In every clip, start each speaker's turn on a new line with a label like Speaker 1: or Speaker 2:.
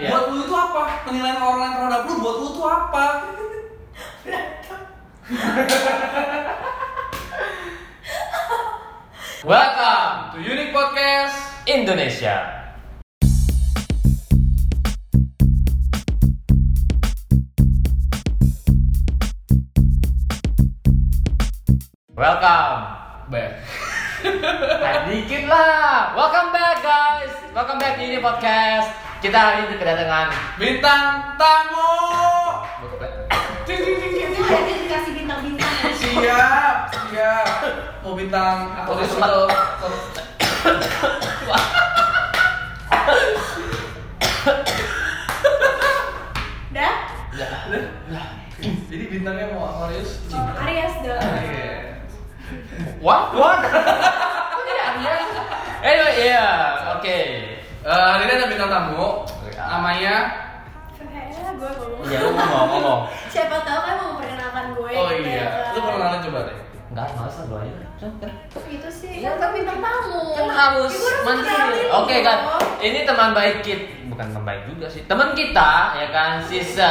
Speaker 1: Iya.
Speaker 2: apa? Penilaian orang terhadap lu buat lu tuh apa?
Speaker 1: Welcome to Unique Podcast Indonesia. Welcome.
Speaker 2: Baik.
Speaker 1: Nah, dikit lah. Welcome back guys. Welcome back to Unique Podcast. Kita hari ini kedatangan
Speaker 2: Bintang tamu. Ding, ding, ding, ding,
Speaker 3: Itu
Speaker 2: ding.
Speaker 3: aja dikasih bintang-bintang
Speaker 2: Siap, siap. Mau bintang
Speaker 1: Aku
Speaker 2: atau
Speaker 1: sempat.
Speaker 2: atau-
Speaker 3: Dah?
Speaker 2: Jadi bintangnya mau Aquarius.
Speaker 3: Aries dah
Speaker 2: Iya.
Speaker 1: What? What? anyway, yeah. Oke.
Speaker 2: Eh, hari ini ada bintang tamu. Namanya
Speaker 3: Kayaknya gue ngomong
Speaker 1: Ya lu ngomong ngomong.
Speaker 3: Siapa tahu kan mau memperkenalkan gue
Speaker 2: Iya. Oh
Speaker 3: gitu ya
Speaker 2: iya,
Speaker 3: kan?
Speaker 2: lu perkenalan coba deh.
Speaker 1: Enggak, males lah doanya.
Speaker 3: Itu sih,
Speaker 1: Iya,
Speaker 3: kan kan bintang tamu
Speaker 1: Kan harus
Speaker 3: Ibu harus
Speaker 1: mandiri.
Speaker 3: kenalin
Speaker 1: Oke
Speaker 3: dong.
Speaker 1: kan. Ini teman baik kita, bukan teman baik juga sih. Teman kita ya kan sisa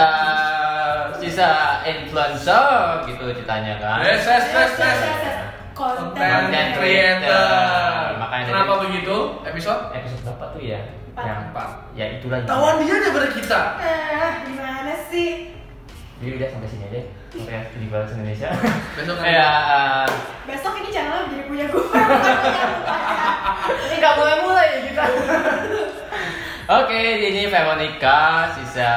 Speaker 1: sisa influencer gitu ceritanya kan.
Speaker 2: Yes, yes, yes,
Speaker 3: Yes,
Speaker 2: yes.
Speaker 3: yes, yes. Konten
Speaker 2: Content
Speaker 1: Content
Speaker 2: creator.
Speaker 1: creator. Makanya
Speaker 2: Kenapa
Speaker 1: dari-
Speaker 2: begitu? Episode
Speaker 1: Episode berapa tuh ya?
Speaker 3: Empat.
Speaker 1: Yang
Speaker 2: Empat.
Speaker 1: Ya itulah.
Speaker 2: Tawan dia daripada kita.
Speaker 3: Eh, gimana sih?
Speaker 1: Jadi udah sampai sini aja. Oke, di bahasa Indonesia.
Speaker 2: Besok kan.
Speaker 1: Ya, eh,
Speaker 3: Besok ini channel jadi punya gue bukan punya lu, Pak.
Speaker 1: Ini nggak mulai mulai ya kita. Oke, ini Veronica, sisa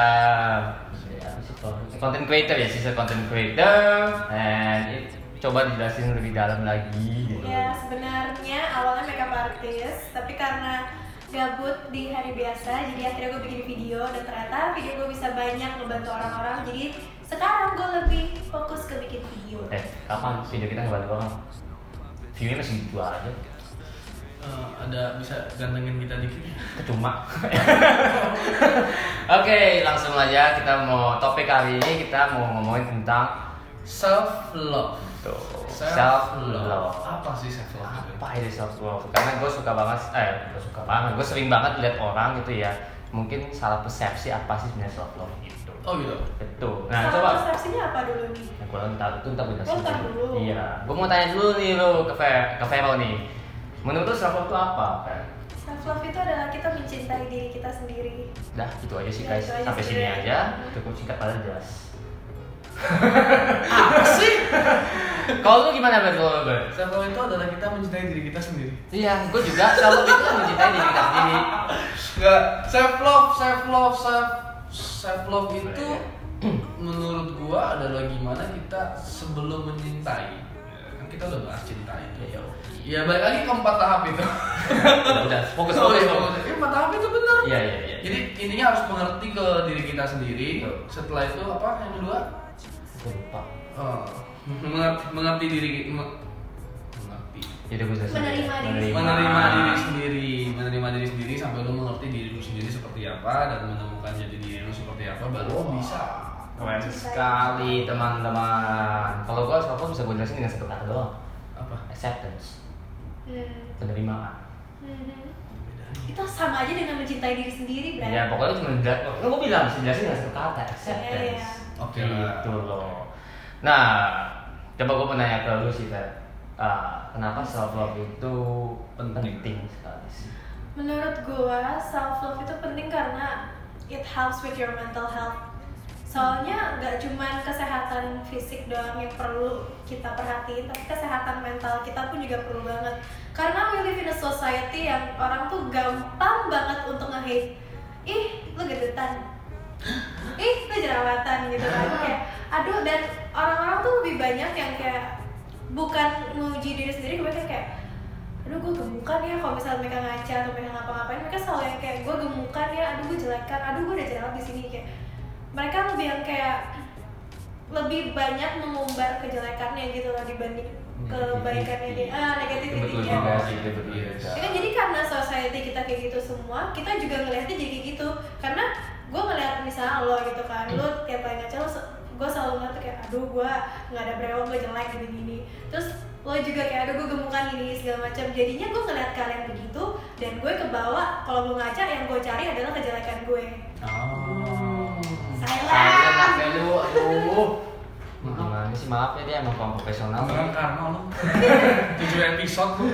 Speaker 1: content creator ya, sisa content creator. And it- coba dijelasin lebih dalam lagi. Gitu.
Speaker 3: Ya sebenarnya awalnya makeup artist, tapi karena gabut di hari biasa, jadi akhirnya gue bikin video dan ternyata video gue bisa banyak ngebantu orang-orang. Jadi sekarang gue lebih fokus ke bikin video.
Speaker 1: Eh, kapan video kita ngebantu orang? View-nya masih gitu aja,
Speaker 2: Eh, ada bisa gantengin kita dikit.
Speaker 1: kecuma. Oke, langsung aja kita mau topik kali ini kita mau ngomongin tentang
Speaker 2: Self love.
Speaker 1: self love.
Speaker 2: Apa sih self love?
Speaker 1: apa itu self love karena gue suka banget eh gue suka banget gue sering banget lihat orang gitu ya mungkin salah persepsi apa sih sebenarnya self love gitu
Speaker 2: Oh gitu.
Speaker 1: betul nah
Speaker 3: Nah,
Speaker 1: coba
Speaker 3: persepsinya apa dulu nih?
Speaker 1: nah, gue ntar itu ntar gue jelasin
Speaker 3: Oh, ntar dulu.
Speaker 1: iya gue mau tanya dulu nih lo ke Fe- ke Vero nih menurut lo self love itu apa Fer?
Speaker 3: Self love itu adalah kita mencintai diri kita sendiri.
Speaker 1: Dah, gitu aja sih
Speaker 3: Ya,
Speaker 1: guys.
Speaker 3: itu aja
Speaker 1: Sampai
Speaker 3: sih,
Speaker 1: sini
Speaker 3: guys.
Speaker 1: aja. Cukup singkat padahal jelas.
Speaker 2: Apa sih?
Speaker 1: Kalau lu gimana Bert? Kalau lu, Bert?
Speaker 2: Self love itu adalah kita mencintai diri kita sendiri.
Speaker 1: Iya, gue juga self love itu mencintai diri kita sendiri.
Speaker 2: Enggak, self love, self love, self self love itu menurut gua adalah gimana kita sebelum mencintai. Ya, Kan kita udah bahas cinta itu.
Speaker 1: Ya,
Speaker 2: Ya balik lagi ke empat tahap itu.
Speaker 1: Udah, udah, fokus
Speaker 2: Oh, iya,
Speaker 1: fokus. fokus.
Speaker 2: iya, empat tahap itu benar.
Speaker 1: Iya, iya, iya.
Speaker 2: Jadi intinya harus mengerti ke diri kita sendiri.
Speaker 1: Betul.
Speaker 2: Setelah itu apa yang kedua?
Speaker 1: Gue lupa.
Speaker 2: Eh, mengerti, mengerti diri me- mengerti.
Speaker 1: Jadi gue jelasin.
Speaker 3: Menerima diri sendiri.
Speaker 2: Menerima diri sendiri, menerima diri sendiri sampai lu mengerti diri lu sendiri seperti apa dan menemukan jati diri lu seperti apa baru lu Oh, bisa.
Speaker 1: Keren sekali teman-teman. Kalau gua self love bisa gue jelasin dengan satu kata doang.
Speaker 2: Apa?
Speaker 1: Acceptance,
Speaker 3: Hmm.
Speaker 1: penerimaan.
Speaker 3: Mhm. Itu sama aja dengan mencintai diri sendiri, Bray.
Speaker 1: Ya pokoknya cuma jela- kan gua bilang bisa jelasin dengan satu kata acceptance.
Speaker 3: Iya,
Speaker 2: Oke lah.
Speaker 1: Gitu loh. Nah, coba gue mau nanya ke lu sih, Fer. Ah, kenapa self love itu
Speaker 2: Penting.
Speaker 1: penting, sekali sih?
Speaker 3: Menurut gua, self love itu penting karena it helps with your mental health. Soalnya nggak cuman kesehatan fisik doang yang perlu kita perhatiin, tapi kesehatan mental kita pun juga perlu banget. Karena we live in a society yang orang tuh gampang banget untuk nge-hate. Ih, lu gendutan. Ih, lu jerawatan gitu kan.
Speaker 1: Ah.
Speaker 3: Kayak, aduh dan orang-orang tuh lebih banyak yang kayak bukan menguji diri sendiri, kebanyakan kayak aduh gue gemukan ya kalau misalnya mereka ngaca atau mereka ngapa-ngapain mereka selalu yang kayak gue gemukan ya aduh gue jelekan aduh gue udah jerawat di sini kayak mereka lebih yang kayak lebih banyak mengumbar kejelekannya gitu loh dibanding kebaikannya dia
Speaker 1: Itu
Speaker 3: ah
Speaker 1: Hmm, betul
Speaker 3: negativity
Speaker 1: juga
Speaker 3: ya
Speaker 1: sih, itu betul juga.
Speaker 2: Yes.
Speaker 3: Ya kan jadi karena society kita kayak gitu semua kita juga ngelihatnya jadi kayak gitu karena gue ngeliat misalnya lo gitu kan lo tiap kali ngaca lo gue selalu ngeliat tuh kayak aduh gue nggak ada brewok gue jelek gini gini terus lo juga kayak aduh gue gemukan gini segala macam jadinya gue ngeliat kalian begitu dan gue kebawa kalau gue ngaca yang gue cari adalah kejelekan gue
Speaker 2: Oh.
Speaker 1: Hmm. sih maaf ya dia emang kurang profesional
Speaker 2: Orang karma lu. 7 episode lu.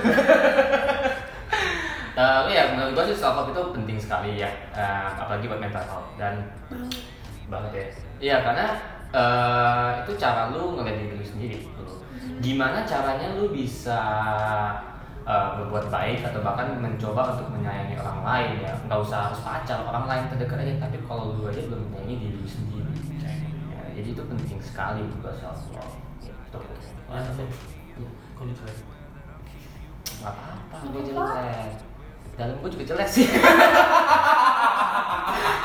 Speaker 1: tapi ya menurut gua sih self love itu penting sekali ya Eh, apalagi buat mental health dan banget ya iya karena eh, itu cara lu ngeliat diri lu sendiri gitu loh. gimana caranya lu bisa eh, berbuat baik atau bahkan mencoba untuk menyayangi orang lain ya nggak usah harus pacar orang lain terdekat aja tapi kalau lu aja belum menyayangi diri lu sendiri ya, jadi itu penting sekali juga self love gitu. Wah, tapi-
Speaker 2: Kok lu jelek?
Speaker 1: Gak apa-apa, gue jelek Dalam gue juga jelek sih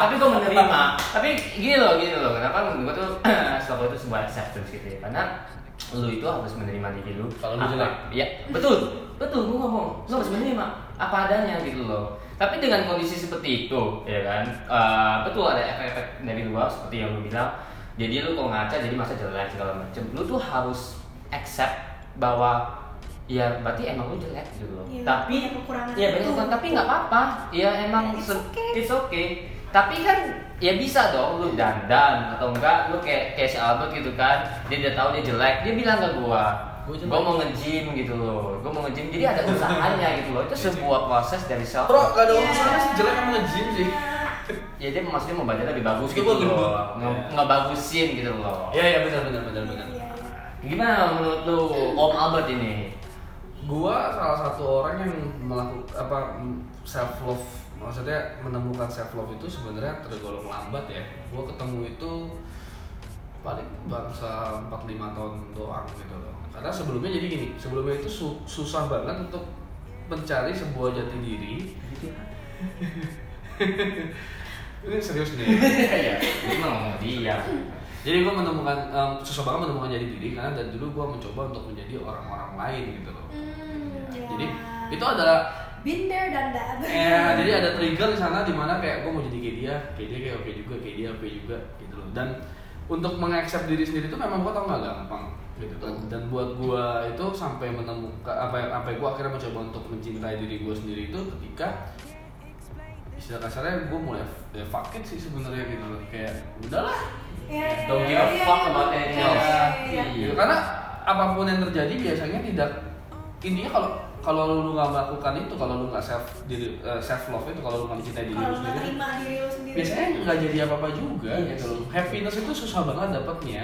Speaker 1: Tapi gue menerima Tapi gini loh, gini loh Kenapa menurut gue tuh Selama itu sebuah acceptance gitu ya Karena lu itu harus menerima diri lu
Speaker 2: Kalau lu
Speaker 1: Apa-
Speaker 2: jelek.
Speaker 1: Iya, betul Betul, gue ngomong Lu harus menerima apa adanya gitu loh tapi dengan kondisi seperti itu, ya kan, eh, betul ada efek-efek dari luar seperti yang lu bilang. Jadi lu kalau ngaca jadi masa jelek segala macem. Lu tuh harus accept bahwa ya berarti emang lu jelek gitu loh.
Speaker 3: Iya,
Speaker 1: tapi
Speaker 3: banyak
Speaker 1: Iya,
Speaker 3: kekurangan
Speaker 1: banyak
Speaker 3: itu. Nah,
Speaker 1: kekurangan, tapi nggak apa-apa. Iya emang
Speaker 3: It's
Speaker 1: se-
Speaker 3: okay.
Speaker 1: it's okay. Tapi kan ya bisa dong lu dandan atau enggak lu kayak kayak si Albert gitu kan. Dia udah tahu dia jelek, dia bilang ke gua,
Speaker 2: Gua jelek."
Speaker 1: gua mau nge-gym gitu loh. Gua mau nge-gym jadi ada usahanya gitu loh. Itu sebuah proses dari self
Speaker 2: Bro, gak ada
Speaker 3: Iya.
Speaker 2: urusannya sih jelek sama nge-gym sih.
Speaker 1: ya dia maksudnya membaca lebih bagus
Speaker 2: Itu
Speaker 1: gitu
Speaker 2: gua gendut.
Speaker 1: loh. Nge-
Speaker 2: Iya.
Speaker 1: Ngebagusin gitu loh.
Speaker 2: Iya, iya benar benar benar benar.
Speaker 3: Iya.
Speaker 1: Gimana menurut lu Om Albert ini?
Speaker 2: gua salah satu orang yang melakukan apa self love maksudnya menemukan self love itu sebenarnya tergolong lambat ya gua ketemu itu paling bangsa 45 tahun doang gitu loh karena sebelumnya jadi gini sebelumnya itu su- susah banget untuk mencari sebuah jati diri ini serius nih
Speaker 1: Iya, gua mah ngomong dia.
Speaker 2: jadi gue menemukan em, susah banget menemukan jati diri karena dari dulu gue mencoba untuk menjadi orang-orang lain gitu loh
Speaker 3: Hmm, ya.
Speaker 2: jadi itu adalah
Speaker 3: been there dan that.
Speaker 2: eh
Speaker 1: Iya.
Speaker 2: jadi ada trigger di sana di mana kayak gue mau jadi kayak dia kayak dia kayak oke juga kayak dia oke juga gitu loh dan untuk mengaccept diri sendiri itu memang gue tau nggak gampang gitu kan dan buat gue itu sampai menemukan apa sampai gue akhirnya mencoba untuk mencintai diri gue sendiri itu ketika istilah kasarnya gue mulai ya, fuck it sih sebenarnya gitu loh kayak udahlah
Speaker 3: Iya, iya,
Speaker 1: Don't give a
Speaker 3: iya, iya,
Speaker 1: fuck
Speaker 3: iya,
Speaker 1: about
Speaker 3: iya,
Speaker 1: anything
Speaker 3: iya,
Speaker 1: else.
Speaker 3: iya, iya.
Speaker 2: Gitu. Karena apapun yang terjadi biasanya tidak intinya kalau kalau lu nggak melakukan itu kalau lu nggak self diri- eh, self love itu kalau lu nggak mencintai diri lu
Speaker 3: Kalau nggak
Speaker 2: sendiri
Speaker 3: terima diri lu sendiri.
Speaker 2: biasanya nggak jadi apa-apa juga
Speaker 1: Iya
Speaker 2: gitu
Speaker 1: sih.
Speaker 2: loh. happiness itu susah banget dapatnya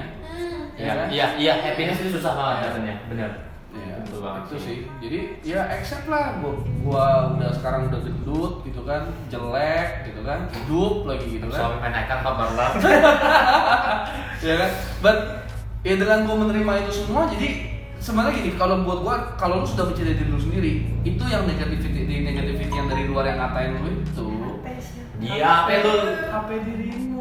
Speaker 3: Hmm.
Speaker 1: Iya,
Speaker 2: kan?
Speaker 1: iya, iya, happiness itu susah banget katanya. Bener.
Speaker 2: Ya,
Speaker 1: Betul banget
Speaker 2: itu sih. Jadi ya accept lah gua gua udah sekarang udah gendut gitu kan, jelek gitu kan, hidup lagi gitu kan.
Speaker 1: Suami menaikkan kabar lah.
Speaker 2: ya kan but ya dengan gue menerima itu semua jadi sebenarnya gini kalau buat gue kalau lu sudah mencintai diri lu sendiri itu yang negativity di negativity yang dari luar yang ngatain lu itu
Speaker 3: Apa ya? sih?
Speaker 1: Iya, apa lu?
Speaker 2: HP dirimu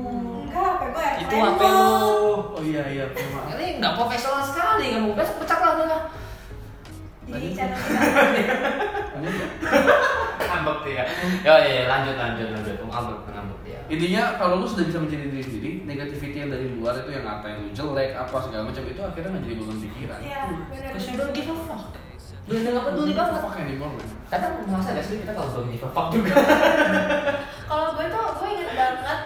Speaker 3: Enggak, apa ya? gue yang
Speaker 1: Itu
Speaker 3: lain
Speaker 1: HP
Speaker 3: dong.
Speaker 1: lu.
Speaker 2: oh iya iya oke, maaf
Speaker 1: Ini nggak profesional sekali kamu. Besok pecat lah udah lah.
Speaker 2: Lanjut.
Speaker 3: Jadi channel kita.
Speaker 1: Ngambek dia. Ya, iya, iya, lanjut, lanjut, lanjut. Om Albert ngambek dia.
Speaker 2: intinya kalau lu sudah bisa menjadi diri sendiri negativity yang dari luar itu yang ngatain lu jelek apa segala macam itu akhirnya nggak jadi beban pikiran
Speaker 3: Iya, benar.
Speaker 1: Cause you don't give a fuck. Lu yang nggak peduli banget.
Speaker 2: Fuck anymore, man.
Speaker 1: Kadang merasa gak sih kita kalau don't give a fuck juga.
Speaker 3: Kalau gue tuh gue inget banget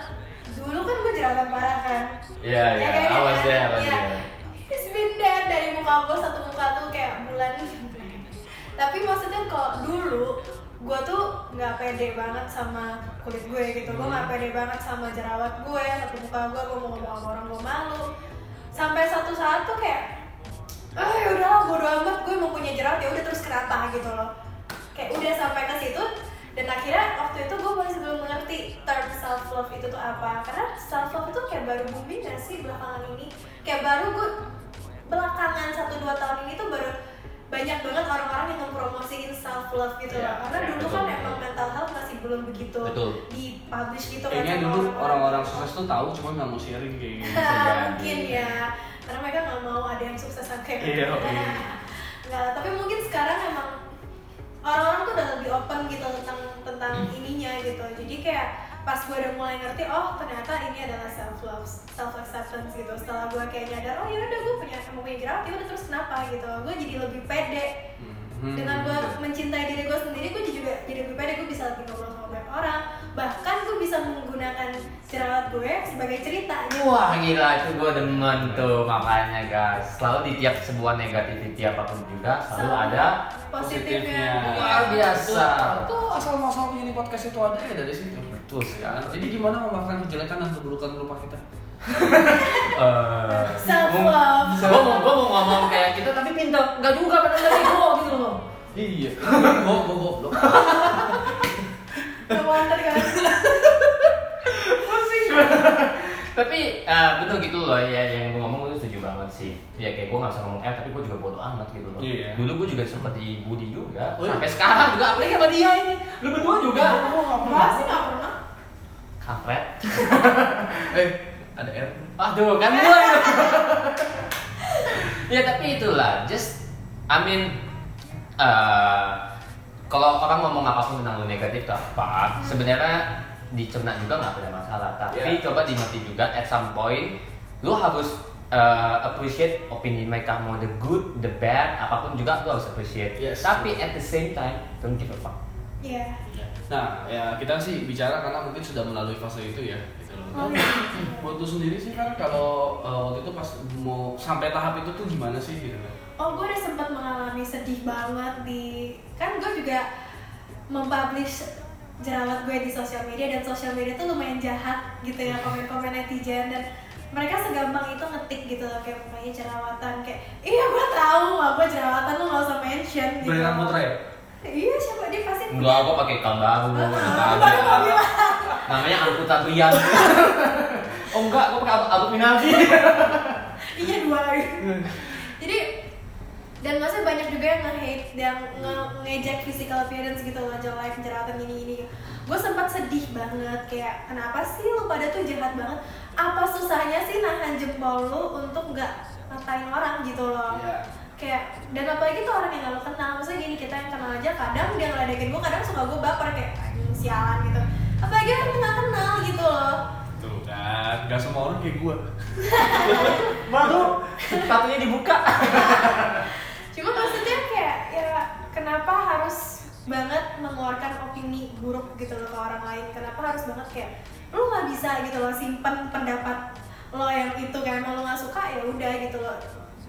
Speaker 3: dulu kan gue jerawatan parah kan.
Speaker 1: Iya, iya.
Speaker 3: kan,
Speaker 1: I was
Speaker 3: kan?
Speaker 1: there, I was
Speaker 3: Iya.
Speaker 1: there.
Speaker 3: It's been there dari muka gue satu muka tuh kayak bulan. Tapi maksudnya kalau dulu gue tuh nggak pede banget sama kulit gue gitu. Gue
Speaker 1: Hmm.
Speaker 3: nggak pede banget sama jerawat gue, satu muka gue, gue mau ngomong sama orang gue malu. Sampai satu saat tuh kayak ah ya udahlah bodo amat gue mau punya jerawat ya udah terus kenapa gitu loh kayak udah sampai ke situ dan akhirnya waktu itu gue masih belum mengerti term self love itu tuh apa karena self love itu kayak baru booming gak sih belakangan ini kayak baru gue belakangan satu dua tahun ini tuh baru banyak banget orang-orang yang mempromosiin self love gitu
Speaker 1: Iya,
Speaker 3: loh karena
Speaker 1: iya,
Speaker 3: dulu
Speaker 1: betul.
Speaker 3: kan emang mental health masih belum begitu
Speaker 1: Betul.
Speaker 3: dipublish gitu kan
Speaker 2: kayaknya
Speaker 3: sama
Speaker 2: dulu orang-orang sukses tuh tahu cuma nggak mau sharing kayak gitu
Speaker 3: Iya, mungkin ya karena mereka nggak mau ada yang sukses sama kayak
Speaker 2: Iya, iya.
Speaker 3: nggak tapi mungkin sekarang emang orang-orang tuh udah lebih open gitu tentang tentang ininya gitu jadi kayak pas gue udah mulai ngerti oh ternyata ini adalah self love self acceptance gitu setelah gue kayak nyadar oh ya udah gue punya emang punya jerawat ya udah terus kenapa gitu gue jadi lebih pede
Speaker 2: Hmm.
Speaker 3: dengan gue mencintai diri gue sendiri gue juga jadi lebih pede gue bisa lebih ngobrol sama banyak orang bahkan gue bisa menggunakan jerawat gue sebagai cerita gitu.
Speaker 1: Wah gila itu gue demen tuh makanya guys Selalu di tiap sebuah negativity apapun juga selalu
Speaker 3: Selalu
Speaker 1: ada
Speaker 2: positifnya.
Speaker 3: positifnya
Speaker 1: Luar biasa
Speaker 2: Itu asal masal ini podcast itu ada ya dari situ.
Speaker 1: Betul sekali
Speaker 2: Jadi gimana memaksakan kejelekan dan keburukan rupa kita?
Speaker 1: Eh,
Speaker 3: self love
Speaker 1: Gue mau, gua mau ngomong kayak gitu tapi pinter Gak juga bener dari gue gitu loh
Speaker 2: Iya. Gue gue goblok.
Speaker 3: no wonder kan
Speaker 1: tapi eh, betul gitu loh ya yang gue ngomong gue setuju banget sih ya kayak gue gak bisa ngomong eh tapi gue juga bodo amat gitu loh
Speaker 2: Iya.
Speaker 1: dulu gue juga sempet di bully juga
Speaker 2: Oh iya?
Speaker 1: sampai sekarang juga apalagi sama dia ini lu berdua juga
Speaker 3: Enggak sih nggak pernah
Speaker 1: kampret
Speaker 2: Eh, ada R.
Speaker 1: aduh kan gue ya tapi itulah just I mean eh, kalau orang ngomong apapun tentang lu negatif tuh apa sebenarnya dicerna juga nggak ada masalah tapi
Speaker 2: Yeah.
Speaker 1: coba dimengerti juga at some point lu harus eh, appreciate opini mereka mau the good the bad apapun juga lu harus appreciate
Speaker 2: Yes.
Speaker 1: tapi at the same time don't give a fuck
Speaker 3: Iya.
Speaker 2: Nah, ya kita sih bicara karena mungkin sudah melalui fase itu ya, gitu loh.
Speaker 3: Oh,
Speaker 2: Tapi
Speaker 3: iya.
Speaker 2: buat lu sendiri sih kan kalau eh, waktu itu pas mau sampai tahap itu tuh gimana sih gitu?
Speaker 3: oh gue udah sempat mengalami sedih banget di kan gue juga mempublish jerawat gue di sosial media dan sosial media tuh lumayan jahat gitu ya komen-komen netizen dan mereka segampang itu ngetik gitu loh kayak pokoknya jerawatan kayak iya gue tahu apa jerawatan lu gak usah mention gitu
Speaker 2: Brand Putra ya?
Speaker 3: iya siapa dia pasti punya.
Speaker 1: enggak gua pakai ikan baru
Speaker 3: Ah,
Speaker 1: ikan
Speaker 3: baru mau
Speaker 1: baru.
Speaker 3: bilang.
Speaker 1: namanya angkutan riang oh enggak gua pakai Al- Alpinasi
Speaker 3: iya dua kali jadi dan maksudnya banyak juga yang nge-hate yang nge- ngejek physical appearance gitu loh jelek jerawatan ini ini gue sempat sedih banget kayak kenapa sih lu pada tuh jahat banget apa susahnya sih nahan jempol lu untuk nggak ngatain orang gitu loh
Speaker 2: Iya.
Speaker 3: kayak dan apalagi tuh orang yang gak lo kenal maksudnya gini kita yang kenal aja kadang dia ngeledekin gue kadang suka gue baper kayak "Anjing, sialan gitu apalagi orang yang gak kenal gitu loh
Speaker 2: Tuh kan, gak semua orang kayak gua.
Speaker 1: baru satunya dibuka
Speaker 3: Cuma maksudnya kayak ya kenapa harus banget mengeluarkan opini buruk gitu loh ke orang lain? Kenapa harus banget kayak lu nggak bisa gitu loh simpen pendapat lo yang itu kayak emang lo nggak suka ya udah gitu loh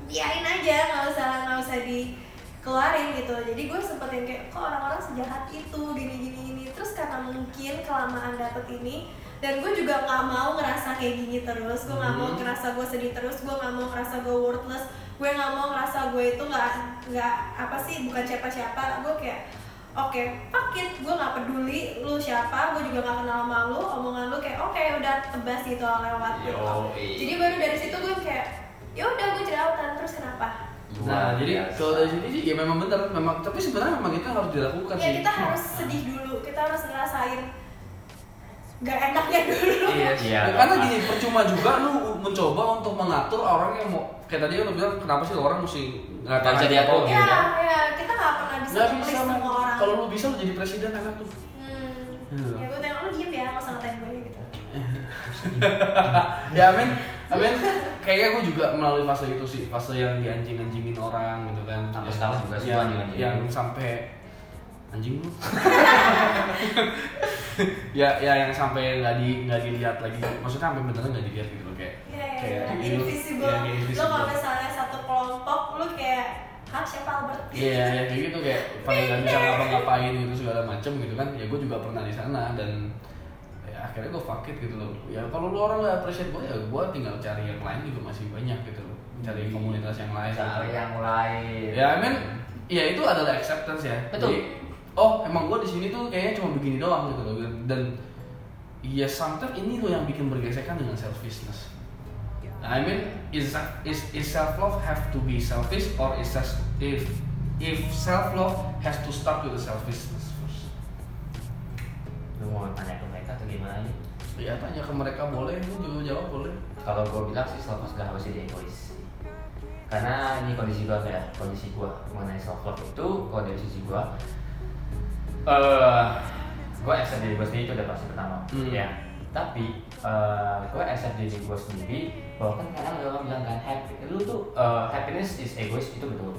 Speaker 3: biarin aja nggak usah nggak usah dikeluarin gitu jadi gue sempet yang kayak kok orang-orang sejahat itu gini gini gini terus karena mungkin kelamaan dapet ini dan gue juga nggak mau ngerasa kayak gini terus gue nggak mau
Speaker 2: Mhm.
Speaker 3: ngerasa gue sedih terus gue nggak mau ngerasa gue worthless gue nggak mau ngerasa gue itu nggak nggak apa sih bukan siapa-siapa gue kayak oke fuck it gue nggak peduli lu siapa gue juga nggak kenal sama lu omongan lu kayak oke udah tebas gitu lewat
Speaker 1: Iya,
Speaker 3: gitu.
Speaker 1: Yoi.
Speaker 3: jadi baru dari situ gue kayak ya udah gue jerawatan terus kenapa
Speaker 2: Nah, jadi kalau dari sini sih ya memang benar, memang tapi sebenarnya memang itu harus dilakukan
Speaker 3: ya
Speaker 2: sih.
Speaker 3: kita harus sedih dulu kita harus ngerasain nggak enaknya dulu
Speaker 2: Iya,
Speaker 1: Iya,
Speaker 2: Ya, karena
Speaker 1: apa.
Speaker 2: gini percuma juga lu mencoba untuk mengatur orang yang mau kayak tadi lu bilang kenapa sih orang mesti ngatain
Speaker 1: Nggak bisa
Speaker 2: aja
Speaker 1: diatur,
Speaker 2: orang?
Speaker 3: ya ya kita nggak pernah bisa
Speaker 2: Oh, iya. Nggak
Speaker 3: nge-please
Speaker 2: bisa. Man.
Speaker 3: semua orang
Speaker 2: Kalau lu bisa lu jadi presiden anak tuh.
Speaker 3: hmm.
Speaker 2: Iya.
Speaker 3: ya gue tengok lu diem ya nggak usah ngatain gue gitu
Speaker 2: ya amin amin kayaknya gue juga melalui fase itu sih fase yang dianjing-anjingin orang gitu kan
Speaker 1: Sampai
Speaker 2: Yang-
Speaker 1: sekarang juga suka
Speaker 2: yang,
Speaker 1: dianjing-anjingin.
Speaker 2: yang sampai anjing lu ya ya yang sampai nggak di nggak dilihat lagi maksudnya sampai beneran nggak dilihat gitu loh kayak
Speaker 3: Iya,
Speaker 2: kayak
Speaker 3: iya, iya.
Speaker 2: di-
Speaker 3: invisible.
Speaker 2: ya, kayak
Speaker 3: Lo
Speaker 2: invisible.
Speaker 3: kalau misalnya satu kelompok, lo kayak, hah siapa Albert?
Speaker 2: Iya, ya, kayak gitu kayak pada nggak bisa ngapa-ngapain gitu segala macem gitu kan. Ya gue juga pernah di sana dan ya akhirnya gue fuck it gitu loh. Ya kalau lu orang nggak appreciate gue ya gue tinggal cari yang lain juga masih banyak gitu loh. Cari komunitas yang lain.
Speaker 1: Hmm. cari yang lain
Speaker 2: Ya, I mean, ya itu adalah acceptance ya.
Speaker 1: Betul.
Speaker 2: Jadi, oh emang gue di sini tuh kayaknya cuma begini doang gitu loh dan ya sometimes ini loh yang bikin bergesekan dengan selfishness. I mean, is is is self love have to be selfish or is self- if if self love has to start with the selfishness first?
Speaker 1: lu mau tanya ke mereka atau gimana nih
Speaker 2: Ya tanya ke mereka boleh, lu juga jawab boleh.
Speaker 1: kalau gue bilang sih self love gak harus jadi egois karena ini kondisi gue ya kondisi gue mengenai self love itu kalau dari sisi gue eh gue accept diri gue sendiri itu udah pasti pertama
Speaker 2: Hmm.
Speaker 1: ya tapi eh gue accept diri gue sendiri bahwa kan kadang ada orang bilang kan happy lu tuh eh, happiness is egois itu betul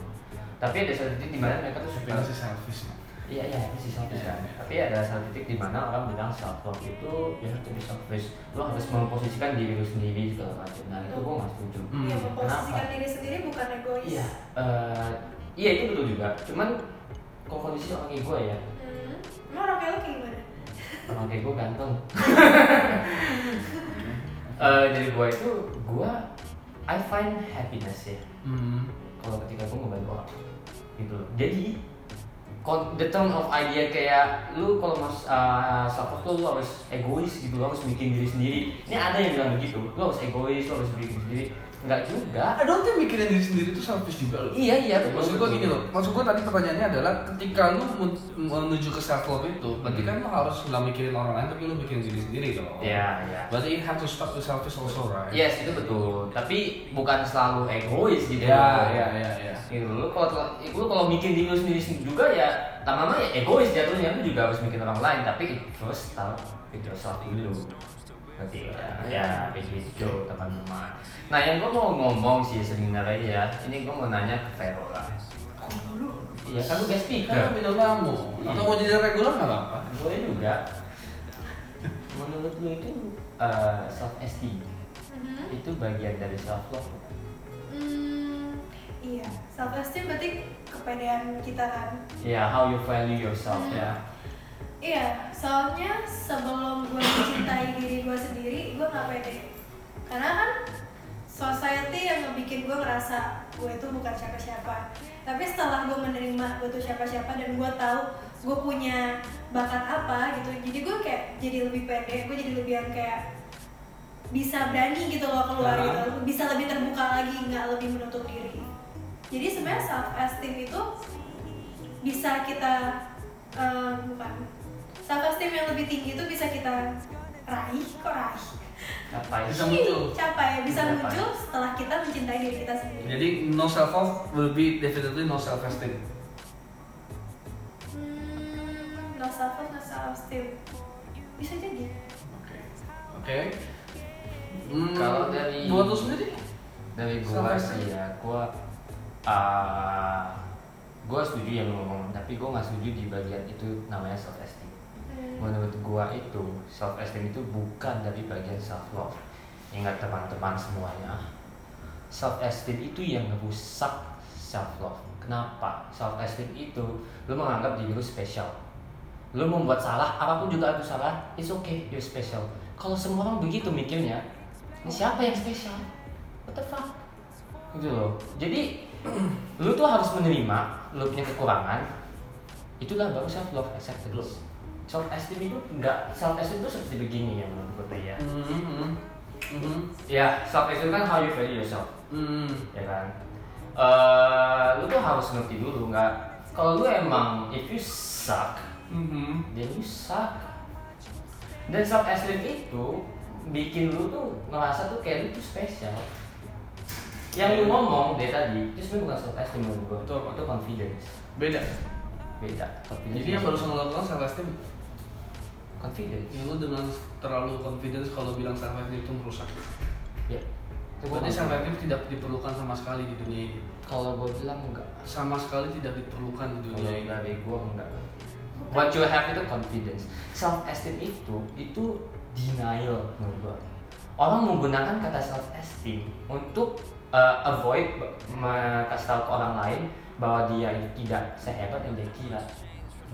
Speaker 1: tapi ada satu titik di mana mereka tuh suka
Speaker 2: Tapi masih selfish. man.
Speaker 1: Iya iya itu sih selfish kan. Tapi ada satu titik di mana orang bilang self love itu ya to be selfish. Lo harus memposisikan diri lo sendiri segala macam. Nah itu gue nggak setuju.
Speaker 2: Hmm,
Speaker 3: ya memposisikan
Speaker 1: kenapa?
Speaker 3: diri sendiri bukan egois
Speaker 1: Iya. eh, iya itu betul juga. Cuman kok kondisi orang kayak gue ya.
Speaker 3: hmm. emang orang kayak lo kayak gimana?
Speaker 1: Orang kayak gue ganteng. Eh, jadi gue itu gue I find happiness ya.
Speaker 2: Hmm.
Speaker 1: kalau ketika gue ngebantu orang gitu loh jadi kon- the term of idea kayak lu kalau mas uh, support tuh lu harus egois gitu lu harus bikin diri sendiri ini ada yang bilang begitu lu harus egois lu harus bikin sendiri nggak juga
Speaker 2: I don't think mikirin diri sendiri itu selfish juga loh.
Speaker 1: iya iya betul.
Speaker 2: Eh, Maksud gua gini loh, maksud gua tadi pertanyaannya adalah ketika lu men- menuju ke self love itu, berarti kan lu harus nggak mikirin orang lain tapi lu mikirin diri sendiri dong.
Speaker 1: Hmm. iya iya
Speaker 2: Berarti it have to stop the selfish also, right?
Speaker 1: yes itu betul tapi bukan selalu egois gitu
Speaker 2: Iya, iya, iya, iya.
Speaker 1: gitu lu kalau telah- lu kalau bikin diri lu sendiri juga ya lama-lama ya egois jatuhnya lu juga harus bikin orang lain tapi first start with yourself dulu nanti ya, ya begitu teman-teman nah yang gue mau ngomong sih sebenarnya ya ini gue mau nanya ke Vero lah iya kan lu guest
Speaker 2: Kan
Speaker 1: speaker
Speaker 2: lu bintang tamu. Atau mau jadi regular nggak apa-apa.
Speaker 1: gue juga menurut lu itu eh, self esteem
Speaker 3: Mhm.
Speaker 1: itu bagian dari self love
Speaker 3: Hmm, iya self esteem berarti kepedean kita kan
Speaker 1: ya how you value yourself ya
Speaker 3: Iya, soalnya sebelum gue mencintai diri gue sendiri, gue nggak pede. Karena kan society yang ngebikin gue ngerasa gue itu bukan siapa-siapa. Tapi setelah gue menerima gue tuh siapa-siapa dan gue tahu gue punya bakat apa gitu, jadi gue kayak jadi lebih pede, gue jadi lebih yang kayak bisa berani gitu loh keluar
Speaker 2: Ah.
Speaker 3: gitu, bisa lebih terbuka lagi, nggak lebih menutup diri. Jadi sebenarnya self esteem itu bisa kita eh, bukan self esteem yang lebih tinggi itu bisa kita raih kok raih
Speaker 1: apa
Speaker 2: Bisa muncul.
Speaker 3: capai bisa
Speaker 1: Capai.
Speaker 3: muncul setelah kita mencintai diri kita sendiri
Speaker 2: Jadi no self love will be definitely no self esteem.
Speaker 3: hmm, no self love no self esteem bisa jadi
Speaker 2: Oke. Oke. Hmm,
Speaker 1: Kalau dari-
Speaker 2: buat lu sendiri?
Speaker 1: dari
Speaker 2: Sama
Speaker 1: gua sih
Speaker 2: sih.
Speaker 1: ya gua ah, gua setuju yang lu ngomong tapi gua nggak setuju di bagian itu namanya self esteem
Speaker 3: hmm.
Speaker 1: menurut gua itu self esteem itu bukan dari bagian self love ingat teman-teman semuanya self esteem itu yang merusak self love kenapa self esteem itu lu menganggap diri lu spesial lu membuat salah apapun juga itu salah it's okay you're special kalau semua orang begitu mikirnya ini siapa yang spesial what the fuck gitu loh jadi lu tuh harus menerima lu punya kekurangan itulah baru self love acceptance self esteem itu enggak self esteem itu seperti begini ya menurut gue tuh ya
Speaker 2: Hmm, hmm, hmm,
Speaker 1: ya self esteem kan how you value yourself
Speaker 2: hmm.
Speaker 1: ya kan Eh, lu tuh harus ngerti dulu nggak kalau lu emang if you suck
Speaker 2: hmm.
Speaker 1: then you suck dan self esteem itu bikin lu tuh ngerasa tuh kayak lu tuh spesial yang lu ngomong dari tadi itu sebenarnya bukan self esteem menurut gua
Speaker 2: Itu apa?
Speaker 1: itu confidence
Speaker 2: Beda.
Speaker 1: beda confidence
Speaker 2: Jadi yang barusan lo lakukan self esteem,
Speaker 1: confidence
Speaker 2: ya lu dengan terlalu confidence kalau bilang self esteem itu merusak.
Speaker 1: ya itu gua
Speaker 2: Berarti
Speaker 1: nggak-
Speaker 2: self esteem tidak diperlukan sama sekali di dunia ini.
Speaker 1: kalau gua bilang enggak
Speaker 2: Sama sekali tidak diperlukan di dunia
Speaker 1: kalau
Speaker 2: ini.
Speaker 1: dari gua enggak what you have itu confidence self esteem itu itu denial menurut gua orang menggunakan kata self esteem untuk uh, avoid b- me- kasih tahu ke orang lain bahwa dia tidak sehebat yang dia kira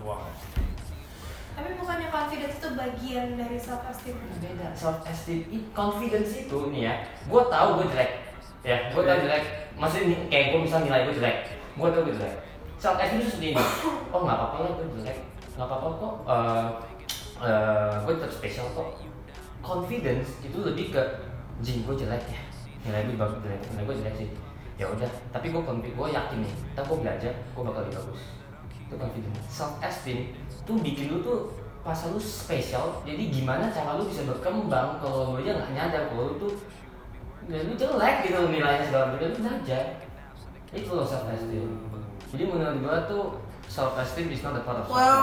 Speaker 2: Wah.
Speaker 3: tapi bukannya confidence itu bagian dari self esteem
Speaker 1: beda self esteem i- confidence itu nih ya gue tahu gue jelek ya gue tahu jelek maksudnya nih, kayak gue misal nilai gue jelek gue tahu gue jelek self esteem itu seperti ini oh nggak apa-apa lah gue jelek nggak apa-apa kok Eh eh, gue tetap spesial kok confidence itu lebih ke jing gue jelek ya nilai gue bagus jelek nilai gue jelek sih ya udah tapi gue konfi gue yakin nih tapi gue belajar gue bakal lebih bagus itu confidence self esteem tuh bikin lu tuh masa lu spesial jadi gimana cara lu bisa berkembang kalau lu aja nggak nyadar kalau lu tuh ya lu jelek gitu nilainya segala macam lu belajar itu loh self esteem jadi menurut gua tuh self esteem is not a part of self
Speaker 2: Well,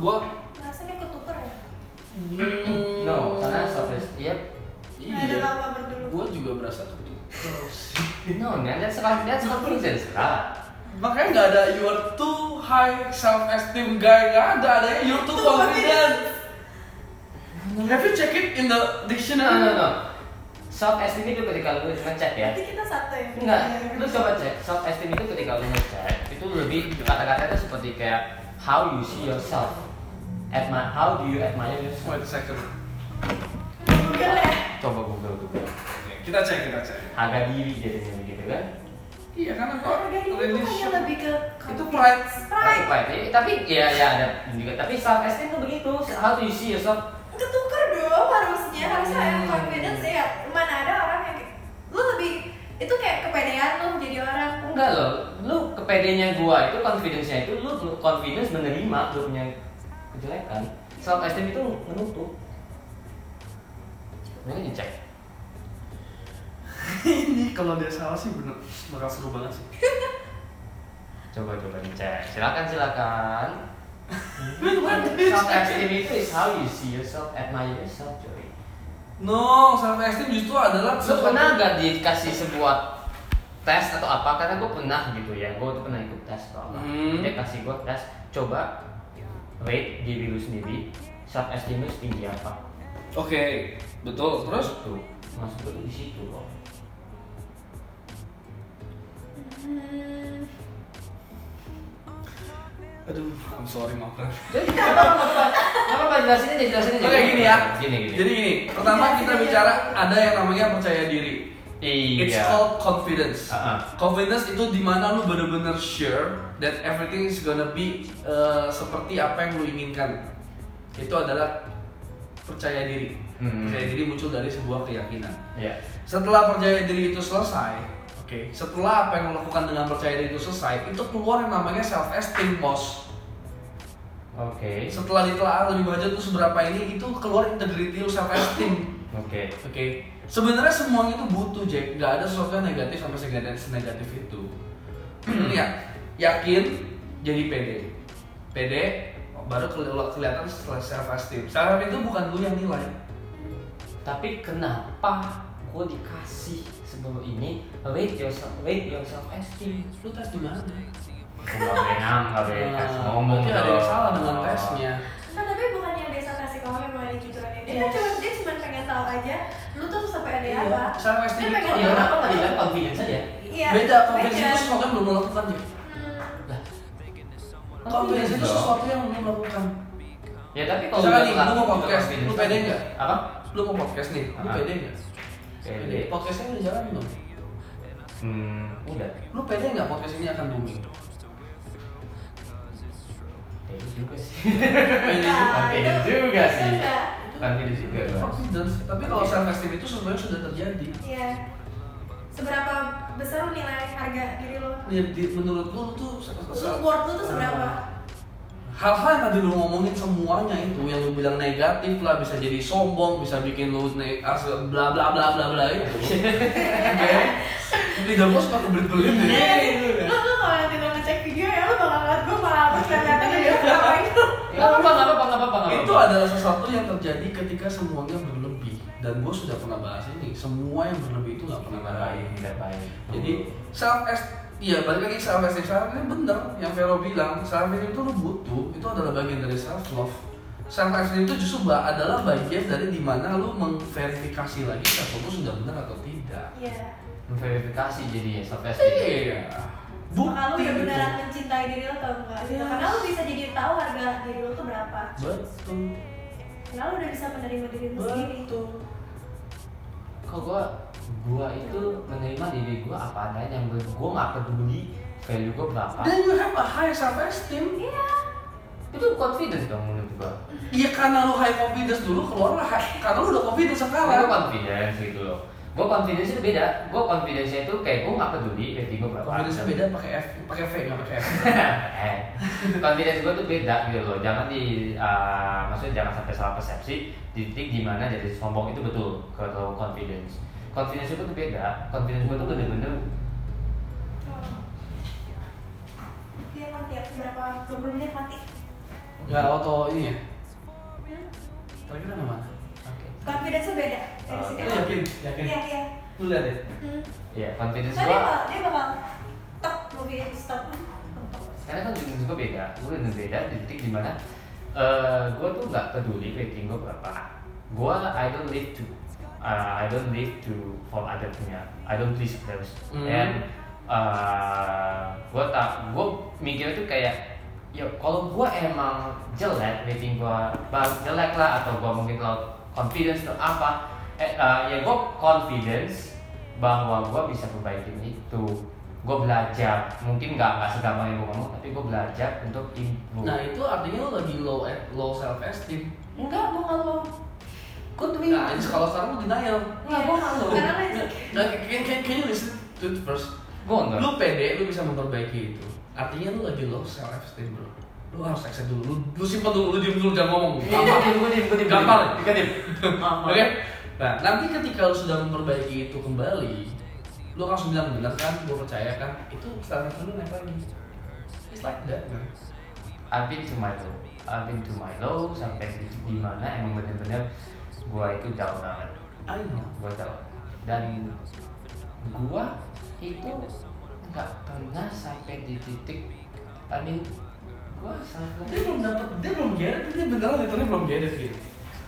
Speaker 2: gua
Speaker 3: rasanya ketuker ya
Speaker 1: no karena iya. self esteem yep
Speaker 3: nggak ada apa berdua
Speaker 2: Gua juga Iya. berasa gitu. tuh.
Speaker 1: No man, that's about that's confidence. Ah,
Speaker 2: makanya nggak ada you're too high self esteem guy nggak ada adanya you're too
Speaker 3: Too
Speaker 2: confident have you check it in the
Speaker 1: No, no,
Speaker 2: dictionary
Speaker 1: no. Self esteem itu ketika lu ngecek ya.
Speaker 3: Nanti kita satu ya.
Speaker 1: Enggak, lu coba cek. Self esteem itu ketika lu ngecek itu lebih kata-kata itu seperti kayak how you see yourself. Admire, how do you admire yourself?
Speaker 2: wait a second
Speaker 3: Google ya.
Speaker 1: Coba Google Google.
Speaker 2: kita cek kita cek
Speaker 1: Harga diri jadinya begitu kan?
Speaker 2: iya karena kok
Speaker 3: Harga diri itu hanya
Speaker 2: religion
Speaker 3: lebih ke
Speaker 2: itu pride
Speaker 3: pride.
Speaker 1: Apa itu? Tapi ya ya ada juga. Tapi self esteem tuh begitu. How do you see yourself?
Speaker 3: Ketukar dong harusnya harusnya yang
Speaker 2: Hmm.
Speaker 3: confidence ya. Mana ada orang yang kayak- lu lebih itu kayak kepedean lu jadi orang.
Speaker 1: Enggak loh, lu kepedenya gua itu confidence-nya itu lu confidence menerima lu punya kejelekan. Self esteem itu menutup. Ini kan cek.
Speaker 2: ini kalau dia salah sih bener bakal seru banget sih
Speaker 1: Coba coba dicek. Silakan silakan.
Speaker 2: Wait, wait, wait.
Speaker 1: self esteem itu is how you see yourself, admire yourself, coy.
Speaker 2: no self esteem justru adalah
Speaker 1: Lu pernah gak dikasih sebuah tes atau apa? Karena gue pernah gitu ya, gue tuh pernah ikut tes atau apa.
Speaker 2: Hmm.
Speaker 1: Dia kasih gue tes, coba rate diri lu sendiri, self esteem lu setinggi apa?
Speaker 2: oke betul terus
Speaker 1: tuh maksud gue tuh di situ loh
Speaker 3: Hmm.
Speaker 2: aduh I'm sorry maafkan
Speaker 1: jadi apa apa apa apa jelasin aja jelasin aja
Speaker 2: Oke gini ya.
Speaker 1: Oh, gini gini
Speaker 2: Jadi gini, pertama kita bicara ada yang namanya percaya diri.
Speaker 1: iya
Speaker 2: It's called confidence.
Speaker 1: Ah,
Speaker 2: Confidence itu dimana lu bener-bener sure that everything is gonna be uh, seperti apa yang lu inginkan. Itu adalah percaya diri.
Speaker 1: Hmm.
Speaker 2: Percaya diri muncul dari sebuah keyakinan.
Speaker 1: iya
Speaker 2: Setelah percaya diri itu selesai, oke. Setelah apa yang lo lakukan dengan percaya diri itu selesai, itu keluar yang namanya self esteem bos.
Speaker 1: oke
Speaker 2: Setelah ditelaah lebih banyak tuh seberapa ini, itu keluar integrity lu self esteem.
Speaker 1: oke
Speaker 2: Oke. Sebenarnya semuanya itu butuh Jack. Nggak ada sesuatu yang negatif sama senegatif negatif itu. Ini ya, yakin jadi pede. Pede baru keli- kelihatan setelah self esteem. Self esteem itu bukan lu yang nilai.
Speaker 1: tapi kenapa gue dikasih sebelum ini rate yourself rate yourself esteem
Speaker 2: Lu tes di mana?
Speaker 1: nggak benar nggak benar
Speaker 2: Nah,
Speaker 1: ngomong
Speaker 2: berarti ada yang salah dengan tesnya.
Speaker 3: Nah, tapi bukan yang biasa kasih komen mengenai jujurannya dia kan cuma dia cuma pengen tahu aja lu tuh sepede
Speaker 2: Iya.
Speaker 3: apa
Speaker 2: Self
Speaker 3: Dia
Speaker 2: esteem itu
Speaker 3: pengen
Speaker 1: ya
Speaker 2: adalah
Speaker 1: kenapa nggak bilang confidence aja
Speaker 3: iya
Speaker 2: beda konvensi itu sesuatu yang belum lo lakukan ya.
Speaker 3: Hmm, Oh,
Speaker 2: Konvensi
Speaker 3: iya.
Speaker 2: itu
Speaker 1: Confidence dong.
Speaker 2: sesuatu yang belum lo lakukan.
Speaker 1: ya tapi kalau
Speaker 2: Misalkan nih,
Speaker 1: bilang
Speaker 2: lu mau
Speaker 1: confidence,
Speaker 2: podcast, lu pede nggak?
Speaker 1: apa
Speaker 2: Lu mau podcast nih, lu
Speaker 1: Ah.
Speaker 2: pede nggak? Pede.
Speaker 1: pede
Speaker 2: Podcastnya udah jalan belum?
Speaker 1: hmm udah
Speaker 2: Lu pede nggak podcast ini akan booming?
Speaker 1: pede Ya, juga sih
Speaker 3: enggak,
Speaker 1: Confidence
Speaker 3: Iya, itu-
Speaker 1: juga
Speaker 3: itu
Speaker 1: sih.
Speaker 3: enggak.
Speaker 2: Kan
Speaker 1: confidence juga Bang.
Speaker 2: confidence tapi kalau self esteem itu sebenarnya sudah terjadi
Speaker 3: Iya. Seberapa besar lu nilai harga diri lo?
Speaker 2: ya, di, menurut lu tuh
Speaker 3: Lu worth lu tuh seberapa?
Speaker 2: hal-hal yang tadi lu ngomongin semuanya itu yang lu bilang negatif lah bisa jadi sombong bisa bikin lu naik as- bla bla bla bla bla itu oke lidah gua suka kebelit belit
Speaker 3: Iya,
Speaker 2: ya
Speaker 3: Lu lu kalau nanti lo ngecek video ya lu bakal ngeliat gue malah terus ternyata dia gitu.
Speaker 1: Gak apa-apa, gak apa-apa, gak apa-apa. nggak
Speaker 2: itu
Speaker 1: apa-apa.
Speaker 2: adalah sesuatu yang terjadi ketika semuanya berlebih dan gue sudah pernah bahas ini semua yang berlebih itu nggak pernah
Speaker 1: Nggak
Speaker 2: baik
Speaker 1: baik, tidak baik.
Speaker 2: Jadi self est Iya, balik lagi self esteem self esteem bener yang Vero bilang self esteem itu lu butuh itu adalah bagian dari self love self esteem itu justru ba- adalah bagian dari dimana lu mengverifikasi lagi self love lu sudah benar atau tidak
Speaker 3: Iya.
Speaker 1: memverifikasi jadinya self esteem.
Speaker 2: iya
Speaker 3: Maka lu
Speaker 2: bukti
Speaker 3: udah
Speaker 2: itu.
Speaker 3: beneran mencintai diri lo atau enggak? gitu.
Speaker 2: Yes.
Speaker 3: Karena lu bisa jadi tahu harga diri lo tuh berapa.
Speaker 2: betul
Speaker 3: Karena lu udah bisa menerima diri lo sendiri.
Speaker 2: betul
Speaker 1: Kok gua gua itu menerima diri gua apa adanya yang gue gua nggak peduli value gua berapa.
Speaker 2: dan you have a high self esteem
Speaker 3: Iya.
Speaker 1: Itu confidence dong menurut gua.
Speaker 2: Iya karena lu high confidence dulu keluarlah high- karena lu udah confidence
Speaker 1: Gua
Speaker 2: sekarang
Speaker 1: confidence gitu loh. Gua confidence itu beda. Gua confidence itu kayak gua nggak peduli value gua berapa.
Speaker 2: confidence beda pakai F pakai V nggak pakai F
Speaker 1: eh, confidence gue tuh beda gitu loh jangan di ah, maksudnya jangan sampai salah persepsi di titik dimana jadi sombong itu betul kalau confidence confidence gue tuh beda confidence gue tuh bener-bener
Speaker 3: Dia mati ya, berapa? 20 menit mati.
Speaker 2: nggak auto ini ya
Speaker 3: Hmm.
Speaker 2: terakhir nama mana
Speaker 1: oke
Speaker 3: Confidence-nya beda dari
Speaker 1: Oh,
Speaker 3: sini.
Speaker 2: Lu yakin Iya, yakin
Speaker 3: Iya, iya.
Speaker 2: lu lihat ya
Speaker 3: Hmm.
Speaker 1: ya confidence
Speaker 3: Nah,
Speaker 1: gue
Speaker 3: dia bakal dia bakal tek movie stop
Speaker 1: karena kan rating gue beda gue rating beda di titik dimana eh gue tuh nggak peduli rating gue berapa gue I don't live to uh, I don't live to for other punya I don't please others
Speaker 2: Hmm.
Speaker 1: and uh, gue tak gue mikirnya tuh kayak ya kalau gue emang jelek rating gue jelek lah atau gue mungkin kalau confidence atau apa eh, eh, ya gue confidence bahwa gue bisa perbaikin itu gue belajar mungkin nggak nggak segampang yang gue ngomong tapi gue belajar untuk improve
Speaker 2: Nah itu artinya lo lagi low e, low self esteem.
Speaker 1: enggak gue nggak low
Speaker 2: Good to me. Iya,
Speaker 1: Nah.
Speaker 2: Jadi kalau sekarang lo denial.
Speaker 1: Nggak, gua nggak low.
Speaker 3: Karena rezeki.
Speaker 2: Nah, can, can, can you listen to it first?
Speaker 1: gue enggak
Speaker 2: Lu pede, lu bisa memperbaiki itu. Artinya lu lagi low self esteem bro. Lu harus accept dulu. Lu, lu simpan dulu, lu diem dulu jangan ngomong. Gampang.
Speaker 1: gue diem gue
Speaker 2: Gampang.
Speaker 1: gue diem
Speaker 2: Oke. Nah, nanti ketika lu sudah memperbaiki itu kembali, lu langsung bilang bener kan, gua percaya kan, itu standar lu naik lagi. It's like that, man.
Speaker 1: I've been to my low I've been to my low sampai di di mana emang bener-bener gue itu down banget
Speaker 2: I know.
Speaker 1: gue tahu dan gua itu nggak pernah sampai di titik I mean gua sangat
Speaker 2: Dia belum dapat, dia belum get it, dia beneran literally belum get it gitu.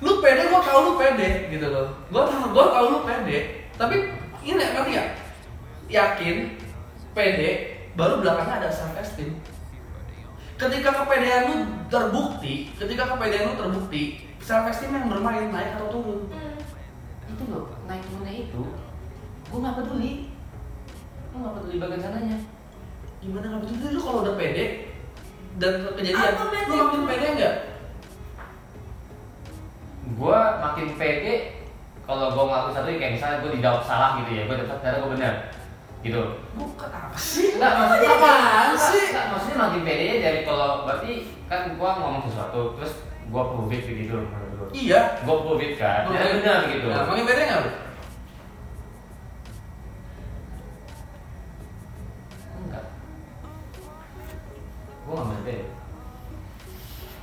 Speaker 2: Lu pede, gua tau lu pede gitu loh. Gua tau, gua tau lu pede. Tapi ini ngerti ya? Yakin, pede, baru belakangnya ada self esteem. Ketika kepedean lu terbukti, ketika kepedean lu terbukti, self esteem yang bermain naik atau turun.
Speaker 3: Hmm.
Speaker 1: itu loh naik turunnya itu gua nggak peduli gua nggak peduli bagian sananya
Speaker 2: gimana nggak betul lu kalau udah pede dan kejadian
Speaker 3: Aku pede.
Speaker 2: lu makin pede nggak
Speaker 1: gua makin pede kalau gua ngaku satu kayak misalnya gua dijawab salah gitu ya gua dapat ternyata gua bener gitu
Speaker 2: bukan apa sih
Speaker 1: Enggak, maksudnya
Speaker 2: Apaan
Speaker 1: enggak,
Speaker 2: sih?
Speaker 1: enggak, maksudnya makin pede dari kalau berarti kan gua ngomong sesuatu terus gua prove it gitu loh menurut gua.
Speaker 2: iya
Speaker 1: gue covid kan
Speaker 2: Oke.
Speaker 1: ya benar gitu
Speaker 2: nah, makin pede nggak lu
Speaker 1: enggak gue nggak pede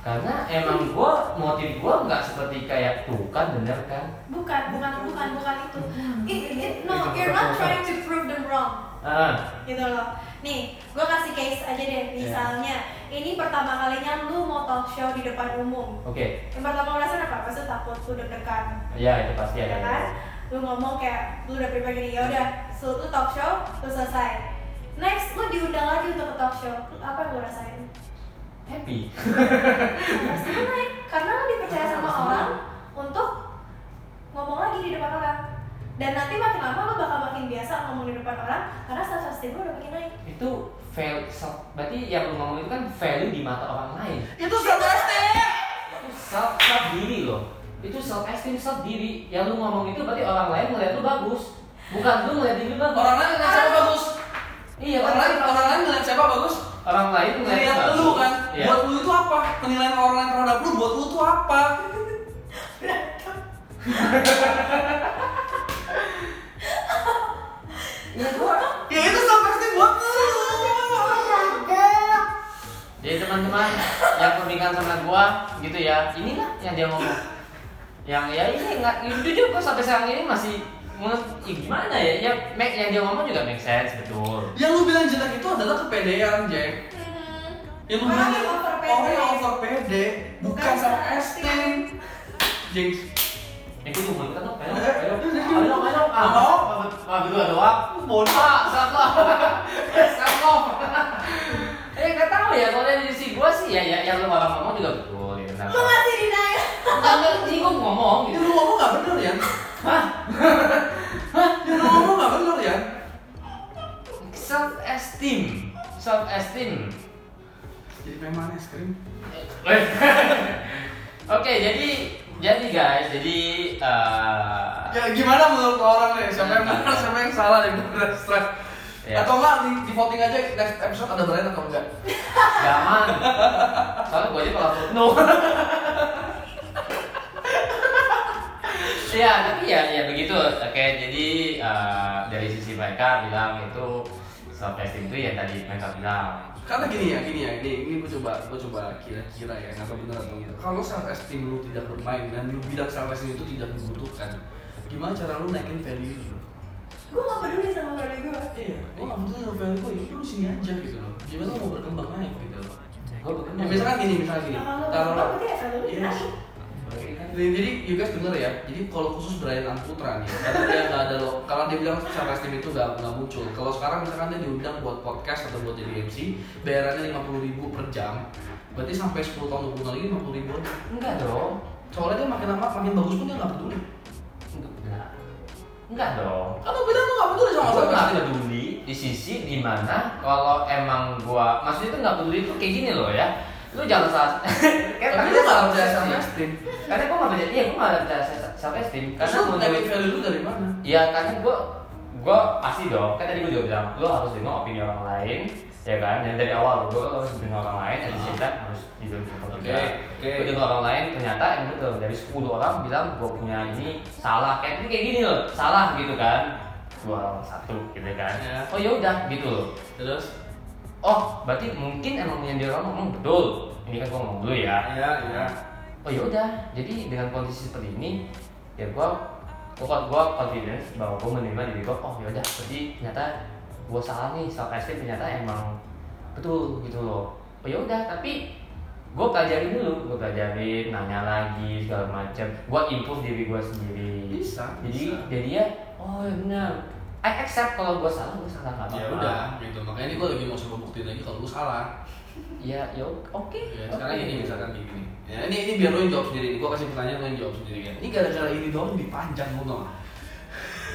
Speaker 1: karena emang gue motif gue nggak seperti kayak tuh kan bener kan
Speaker 3: Bukan, bukan, bukan, bukan itu. It, it,
Speaker 1: Itu
Speaker 3: no, you're not
Speaker 1: bukan.
Speaker 3: trying to prove them wrong.
Speaker 1: ah
Speaker 3: gitu loh nih gue kasih case aja deh misalnya ini pertama kalinya lu mau talk show di depan umum
Speaker 1: oke
Speaker 3: yang pertama lu rasain apa pasti takut lu deg-degan
Speaker 1: ya itu pasti
Speaker 3: ya
Speaker 2: Iya
Speaker 1: ada
Speaker 3: kan lu ngomong kayak lu udah prepare gini ya udah so, lu talk show lu selesai next lu diundang lagi untuk ke talk show Lu- apa yang lu rasain
Speaker 1: happy
Speaker 3: pasti lu naik karena lu dipercaya sama orang untuk ngomong lagi di depan orang dan nanti makin lama lu bakal makin biasa ngomong di depan orang karena self-esteem lu udah makin naik
Speaker 1: itu fail self berarti yang lu ngomong itu kan value di mata orang lain
Speaker 2: itu sarkastik
Speaker 1: itu self self diri loh itu self esteem self diri yang lu ngomong itu berarti orang lain ngeliat lu bagus bukan lu ngeliat diri lu bagus
Speaker 2: orang lain ngeliat siapa bagus
Speaker 1: iya
Speaker 2: orang lain orang lain ngeliat siapa bagus
Speaker 1: orang lain ngeliat
Speaker 2: ngeliat
Speaker 1: bagus.
Speaker 2: lu kan
Speaker 1: Iya.
Speaker 2: buat lu itu apa penilaian orang lain terhadap lu buat lu itu apa
Speaker 1: Iya, gua-
Speaker 2: ya itu sarkastik buat lu
Speaker 1: Jadi teman-teman yang pernikahan sama gua gitu ya, inilah yang dia ngomong. Yang ya ini nggak jujur gua sampai sekarang ini masih nge- ya gimana ya? Ya make yang dia ngomong juga make sense betul.
Speaker 2: yang lu bilang jelek itu adalah kepedean Jack yang Ya, lu
Speaker 3: Mm-hmm. Orang
Speaker 2: bilang
Speaker 3: yang overpede.
Speaker 2: orang yang over pede bukan
Speaker 3: Bukan
Speaker 2: self esteem Jinx
Speaker 1: Yang itu cuma kan apa? Ayo, ayo, ah
Speaker 2: Mau?
Speaker 1: mau? Ah berdua doang.
Speaker 2: bodoh
Speaker 1: Ah satu, satu. Eh nggak tahu ya, soalnya di sisi gua sih ya, ya yang lu malah ngomong juga betul ya. Kenapa?
Speaker 3: Lu masih denial.
Speaker 1: Nggak ngerti gua ngomong.
Speaker 2: Ini
Speaker 1: gitu.
Speaker 2: lu ngomong gak bener ya?
Speaker 1: Hah?
Speaker 2: Ini lu ngomong gak bener ya?
Speaker 1: Self esteem, self esteem.
Speaker 2: Jadi memang es krim
Speaker 1: Oke, jadi jadi guys, jadi eh,
Speaker 2: Ya gimana menurut orang nih? Siapa yang benar, siapa yang salah di bener
Speaker 1: Ya.
Speaker 2: Atau enggak di, di voting aja next episode ada Brian atau enggak?
Speaker 1: zaman. Soalnya gue aja kalau no. Iya, tapi ya ya begitu. Oke, jadi eh, dari sisi mereka bilang itu self esteem itu ya tadi mereka bilang.
Speaker 2: Karena gini ya, gini ya, ini ini gue coba gue coba kira-kira ya, nggak tahu bener atau enggak. Kalau self esteem lu tidak bermain dan lu bilang self esteem itu tidak dibutuhkan, gimana cara lu naikin value lu?
Speaker 3: gue gak peduli sama value gue
Speaker 2: iya gue nggak peduli sama value gue ya udah lu sini aja gitu loh gimana lu mau berkembang naik gitu loh
Speaker 1: Gue bukan.
Speaker 2: ya misalkan gini misalkan gini
Speaker 3: Nah, kalau lu
Speaker 2: taruhlah
Speaker 3: berkembang, berarti value lu
Speaker 2: Iya.
Speaker 3: naik.
Speaker 2: Jadi, jadi you guys denger ya, jadi kalau khusus Brian Putra nih, karena dia nggak ada lo, kalau dia bilang secara steam itu nggak nggak muncul. Kalau sekarang misalkan dia diundang buat podcast atau buat jadi MC, bayarannya lima puluh ribu per jam, berarti sampai 10 tahun 20 tahun lagi lima puluh ribu. aja.
Speaker 1: Enggak dong.
Speaker 2: Soalnya dia makin lama makin bagus pun dia nggak peduli.
Speaker 1: Enggak. Enggak dong.
Speaker 2: Apa beda lu nggak peduli sama
Speaker 1: Gue
Speaker 2: sama
Speaker 1: nggak peduli di sisi dimana kalau emang gua maksudnya tuh nggak peduli itu kayak gini loh ya lu jangan salah kayak
Speaker 2: Tapi dia
Speaker 1: tadi lu
Speaker 2: nggak
Speaker 1: salah
Speaker 2: percaya
Speaker 1: percaya
Speaker 2: sama
Speaker 1: sama
Speaker 2: Steam.
Speaker 1: karena gua nggak percaya iya gua nggak percaya sama steam
Speaker 2: Karena
Speaker 1: karena
Speaker 2: lu
Speaker 1: menurut
Speaker 2: dari value lu dari mana?
Speaker 1: ya karena gua gua pasti dong kan tadi gua juga bilang lu harus dengar opini orang lain ya kan dan dari awal gua harus dengar orang lain dan di sini harus dibilang sama
Speaker 2: Ah. Oke,
Speaker 1: juga
Speaker 2: oke.
Speaker 1: Gua dengar orang lain ternyata yang betul dari 10 orang bilang gua punya ini salah kayak ini kayak gini loh salah gitu kan dua orang satu gitu kan
Speaker 2: Ya.
Speaker 1: oh ya udah gitu loh
Speaker 2: Terus?
Speaker 1: oh berarti mungkin emang yang dia orang ngomong betul ini kan gua ngomong dulu ya
Speaker 2: Iya, iya.
Speaker 1: oh ya udah jadi dengan kondisi seperti ini ya gua gua gua confidence bahwa gua menerima diri gua oh ya udah berarti ternyata gua salah nih self esteem ternyata emang betul gitu loh oh ya udah tapi gua pelajari dulu gua pelajari nanya lagi segala macam gua improve diri gua sendiri
Speaker 2: Bisa,
Speaker 1: jadi
Speaker 2: bisa.
Speaker 1: jadi ya oh ya benar I accept kalau gua salah gua salah nggak
Speaker 2: Ya
Speaker 1: apa-apa
Speaker 2: udah, gitu. Makanya ini gue lagi mau coba buktiin lagi kalau lu salah.
Speaker 1: ya ya oke
Speaker 2: Ya, sekarang
Speaker 1: oke.
Speaker 2: ini misalkan kayak gini. Ya, ini ini biar lo yang jawab sendiri. Gua kasih pertanyaan lo yang jawab sendiri kan. Ini gara-gara ini doang dipanjang lo tau nggak?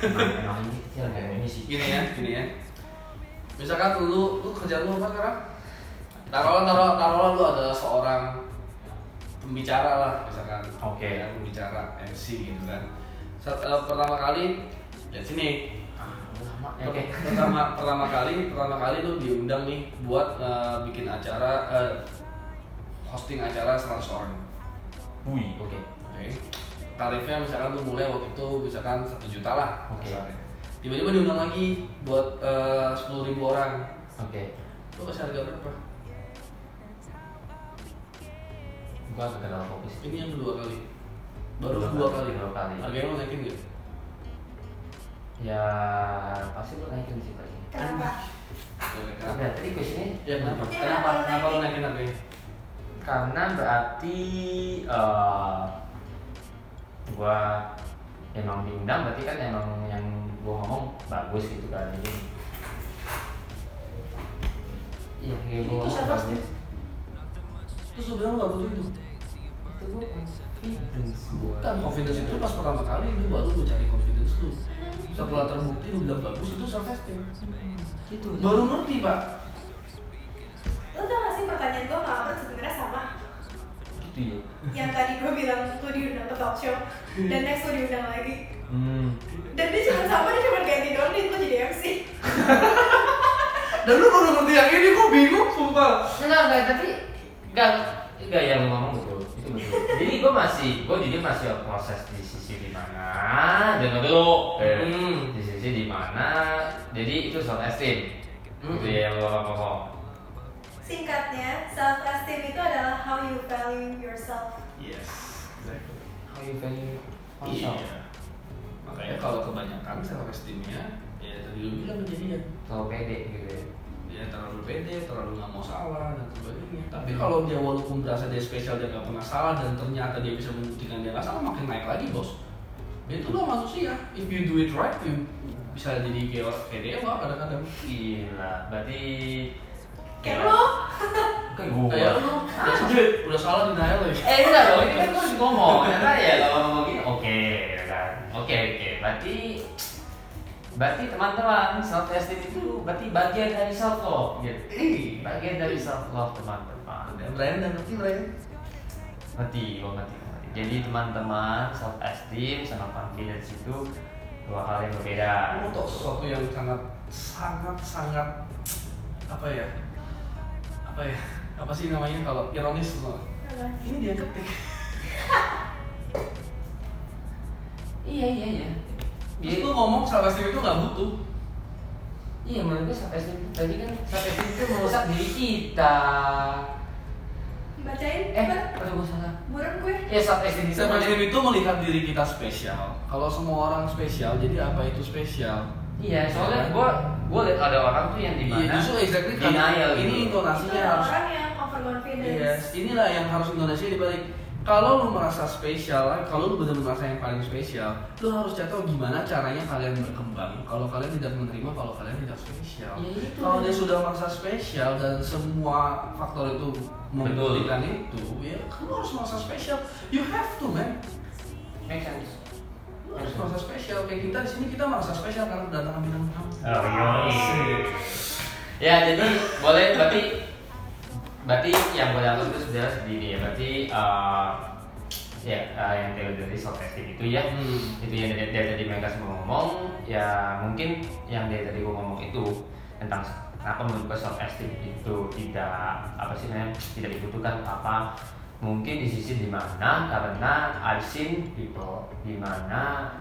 Speaker 1: Emang- emang ini kecil kayak ini sih
Speaker 2: Gini ya, gini ya. Misalkan lu lu kerjaan lu apa sekarang? Taruhlah taruh taruhlah lu adalah seorang pembicara lah misalkan.
Speaker 1: Oke.
Speaker 2: Ya, pembicara MC gitu kan. Saat, eh, pertama kali ya sini.
Speaker 1: lama ya, oke
Speaker 2: Oke. Pertama pertama kali pertama kali lu diundang nih buat eh, bikin acara eh, hosting acara 100 orang.
Speaker 1: Wih, oke.
Speaker 2: Oke. Tarifnya misalkan lu mulai waktu itu misalkan satu juta lah.
Speaker 1: Oke.
Speaker 2: kasarnya. Tiba-tiba diundang lagi buat eh, sepuluh ribu orang.
Speaker 1: Oke.
Speaker 2: Lu kasih harga berapa?
Speaker 1: Gua agak gagal fokus.
Speaker 2: Ini yang dua kali. Baru
Speaker 1: Dua
Speaker 2: dua
Speaker 1: kali,
Speaker 2: kali.
Speaker 1: dua kali.
Speaker 2: Harganya lu naikin nggak?
Speaker 1: Ya, pasti gua naikin sih tadi.
Speaker 3: kenapa
Speaker 2: Oke,
Speaker 1: Nah, tadi kuisnya
Speaker 2: Ya kenapa?
Speaker 3: Iya,
Speaker 2: Kenapa?
Speaker 3: kalau
Speaker 2: Kenapa lu
Speaker 3: naikin.
Speaker 2: naikin harganya?
Speaker 1: Karena berarti eh gua emang diundang berarti kan emang yang gua ngomong bagus gitu kan ini. Iya, yang
Speaker 2: Itu
Speaker 1: gua ngomong
Speaker 2: siapa sih?
Speaker 1: bagus.
Speaker 2: Terus lu bilang lu nggak butuh itu.
Speaker 1: Itu gua confidence gua.
Speaker 2: Kan confidence itu pas pertama kali lu baru lu cari confidence lu. Setelah terbukti lu bilang bagus itu self esteem.
Speaker 1: Gitu.
Speaker 2: Baru ngerti pak.
Speaker 3: lu tau gak sih pertanyaan gue sama Ahmad sebenarnya sama
Speaker 1: Gitu ya.
Speaker 3: yang tadi gue bilang gue diundang ke talk show dan next gue diundang lagi
Speaker 1: Hmm.
Speaker 3: dan dia cuma sama dia cuma ganti doang dia tuh jadi MC
Speaker 2: Dan lu baru ngerti yang ini gua bingung sumpah.
Speaker 1: Enggak, enggak, tapi enggak enggak yang lu ngomong betul. Itu betul. Jadi gue masih gue jadi masih proses di sisi di mana jangan dulu. Eh,
Speaker 2: Hmm.
Speaker 1: Di sisi di mana? Jadi itu soal Gitu esteem.
Speaker 2: Hmm.
Speaker 1: Itu yang lo ngomong.
Speaker 3: singkatnya self esteem itu adalah how you value yourself
Speaker 2: Yes, exactly.
Speaker 1: How you value
Speaker 2: Iya.
Speaker 1: Iya.
Speaker 2: Makanya kalau kebanyakan self esteemnya ya tadi lu bilang kejadian.
Speaker 1: Terlalu pede gitu ya.
Speaker 2: Dia terlalu pede, terlalu nggak mau salah dan sebagainya. Tapi kalau dia walaupun berasa dia spesial dia nggak pernah salah dan ternyata dia bisa membuktikan dia nggak salah makin naik lagi bos. Dan itu lah manusia. If you do it right, you bisa jadi kayak kayak dewa kadang-kadang.
Speaker 1: Gila, berarti
Speaker 3: kayak lu
Speaker 1: Kayak gue.
Speaker 2: Kayak lu udah, udah salah denial ya. lagi.
Speaker 1: Eh enggak dong, ini kan gue harus ngomong Karena ya kalau ngomong gini, oke ya kan Oke oke, berarti Berarti teman-teman, self esteem itu berarti bagian dari self love gitu. Bagian dari self love teman-teman
Speaker 2: Brian dan ngerti Brian.
Speaker 1: Ngerti, gue ngerti, gua ngerti Jadi teman-teman, self esteem sama confidence itu dua hal yang berbeda
Speaker 2: untuk sesuatu yang sangat sangat sangat apa ya apa ya apa sih namanya kalau ironis loh ini dia ketik
Speaker 1: Iya iya iya
Speaker 2: terus
Speaker 1: Iya,
Speaker 2: lu ngomong salah satu itu nggak butuh
Speaker 1: iya menurut gue self esteem Tadi kan self esteem itu merusak diri kita
Speaker 3: bacain
Speaker 1: Eh,
Speaker 3: Ber.
Speaker 1: aduh gue salah
Speaker 3: buram gue
Speaker 1: Ya self esteem itu
Speaker 2: Self-esteem itu melihat diri kita spesial kalau semua orang spesial jadi apa itu spesial
Speaker 1: Iya, soalnya gue gue liat ada orang tuh yang di mana
Speaker 2: Iya, justru exactly
Speaker 1: denial
Speaker 2: karena ini
Speaker 1: gitu.
Speaker 2: intonasinya
Speaker 3: Itu
Speaker 2: harus
Speaker 3: orang yang overconfidence
Speaker 1: Iya.
Speaker 2: Yes, inilah yang harus Indonesia dibalik. Kalau lu merasa spesial, kalau lu benar-benar merasa yang paling spesial, lu harus cari tahu gimana caranya kalian berkembang. Kalau kalian tidak menerima, kalau kalian tidak spesial.
Speaker 1: Ya, itu.
Speaker 2: Kalau dia sudah merasa spesial dan semua faktor itu memberikan itu, ya kamu harus merasa spesial. You have to, man.
Speaker 1: Make sense.
Speaker 2: Lu harus merasa spesial. Kayak kita di sini kita merasa spesial karena kedatangan bintang tamu.
Speaker 1: Oh, Ya jadi boleh berarti berarti yang gue dapat itu sudah segini ya berarti eh, ya eh, yang teori dari soft testing itu ya
Speaker 2: Hmm.
Speaker 1: itu yang dari, dari tadi mereka semua ngomong ya mungkin yang dari tadi gue ngomong itu tentang kenapa menurut gue soft testing itu tidak apa sih namanya tidak dibutuhkan apa mungkin di sisi dimana karena I've seen people dimana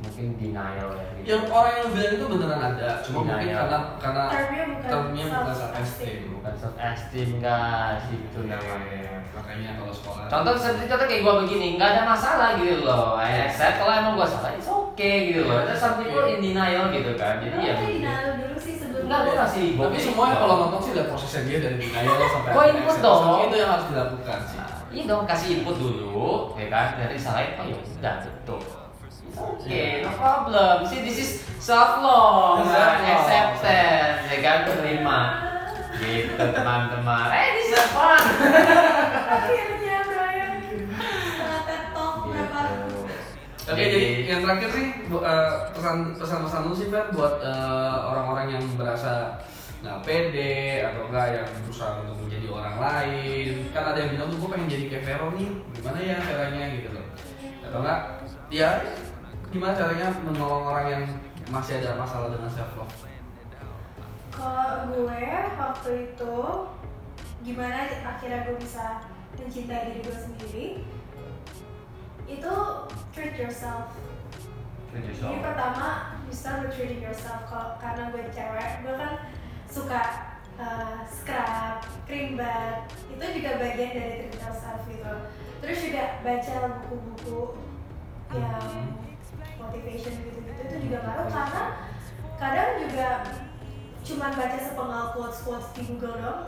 Speaker 1: mungkin denial ya gitu.
Speaker 2: Yang orang yang bilang itu beneran ada, cuma mungkin
Speaker 1: Denial.
Speaker 2: karena karena
Speaker 3: Termnya bukan
Speaker 2: termnya bukan
Speaker 3: self-esteem.
Speaker 2: self-esteem.
Speaker 1: bukan self esteem guys itu namanya
Speaker 2: makanya kalau sekolah
Speaker 1: contoh seperti contoh kayak gue begini nggak ada masalah gitu loh I accept kalau emang gue salah it's okay gitu loh there's some people in denial gitu kan jadi
Speaker 3: Lu
Speaker 1: ya
Speaker 3: tuh
Speaker 1: begini.
Speaker 3: denial dulu sih sebelum
Speaker 1: Enggak, gue masih
Speaker 2: tapi semuanya kalau nonton sih udah prosesnya dia dari denial sampai
Speaker 1: Gua
Speaker 2: akhirnya
Speaker 1: input
Speaker 2: acceptance.
Speaker 1: dong.
Speaker 2: itu yang harus dilakukan sih
Speaker 1: Iya dong kasih input dulu, ya kan? Dari salahin, oh ya udah betul. Oke, no problem. See, this is self love,
Speaker 2: Self-love.
Speaker 1: acceptance, ya kan? Terima. Gitu teman-teman. Eh, this is fun.
Speaker 3: akhirnya ya, Brian sangat TED talk berapa
Speaker 1: Gitu.
Speaker 2: Oke, jadi yang terakhir sih bu- eh, pesan pesan-pesan lu sih Fer buat eh, orang-orang yang merasa nggak pede atau enggak yang berusaha untuk menjadi orang lain kan ada yang bilang tuh gue pengen jadi kayak Vero nih gimana ya caranya gitu loh atau enggak ya gimana caranya menolong orang yang masih ada masalah dengan self love
Speaker 3: kalau gue waktu itu gimana akhirnya gue bisa mencintai diri gue sendiri itu treat yourself Jadi pertama you start with treating yourself kalau karena gue cewek, gue kan suka uh, scrub, cream bath, itu juga bagian dari treat yourself gitu. Terus juga baca buku-buku yang motivation gitu-gitu itu
Speaker 1: Hmm.
Speaker 3: juga ngaruh karena kadang juga cuman baca sepenggal quotes quotes di Google dong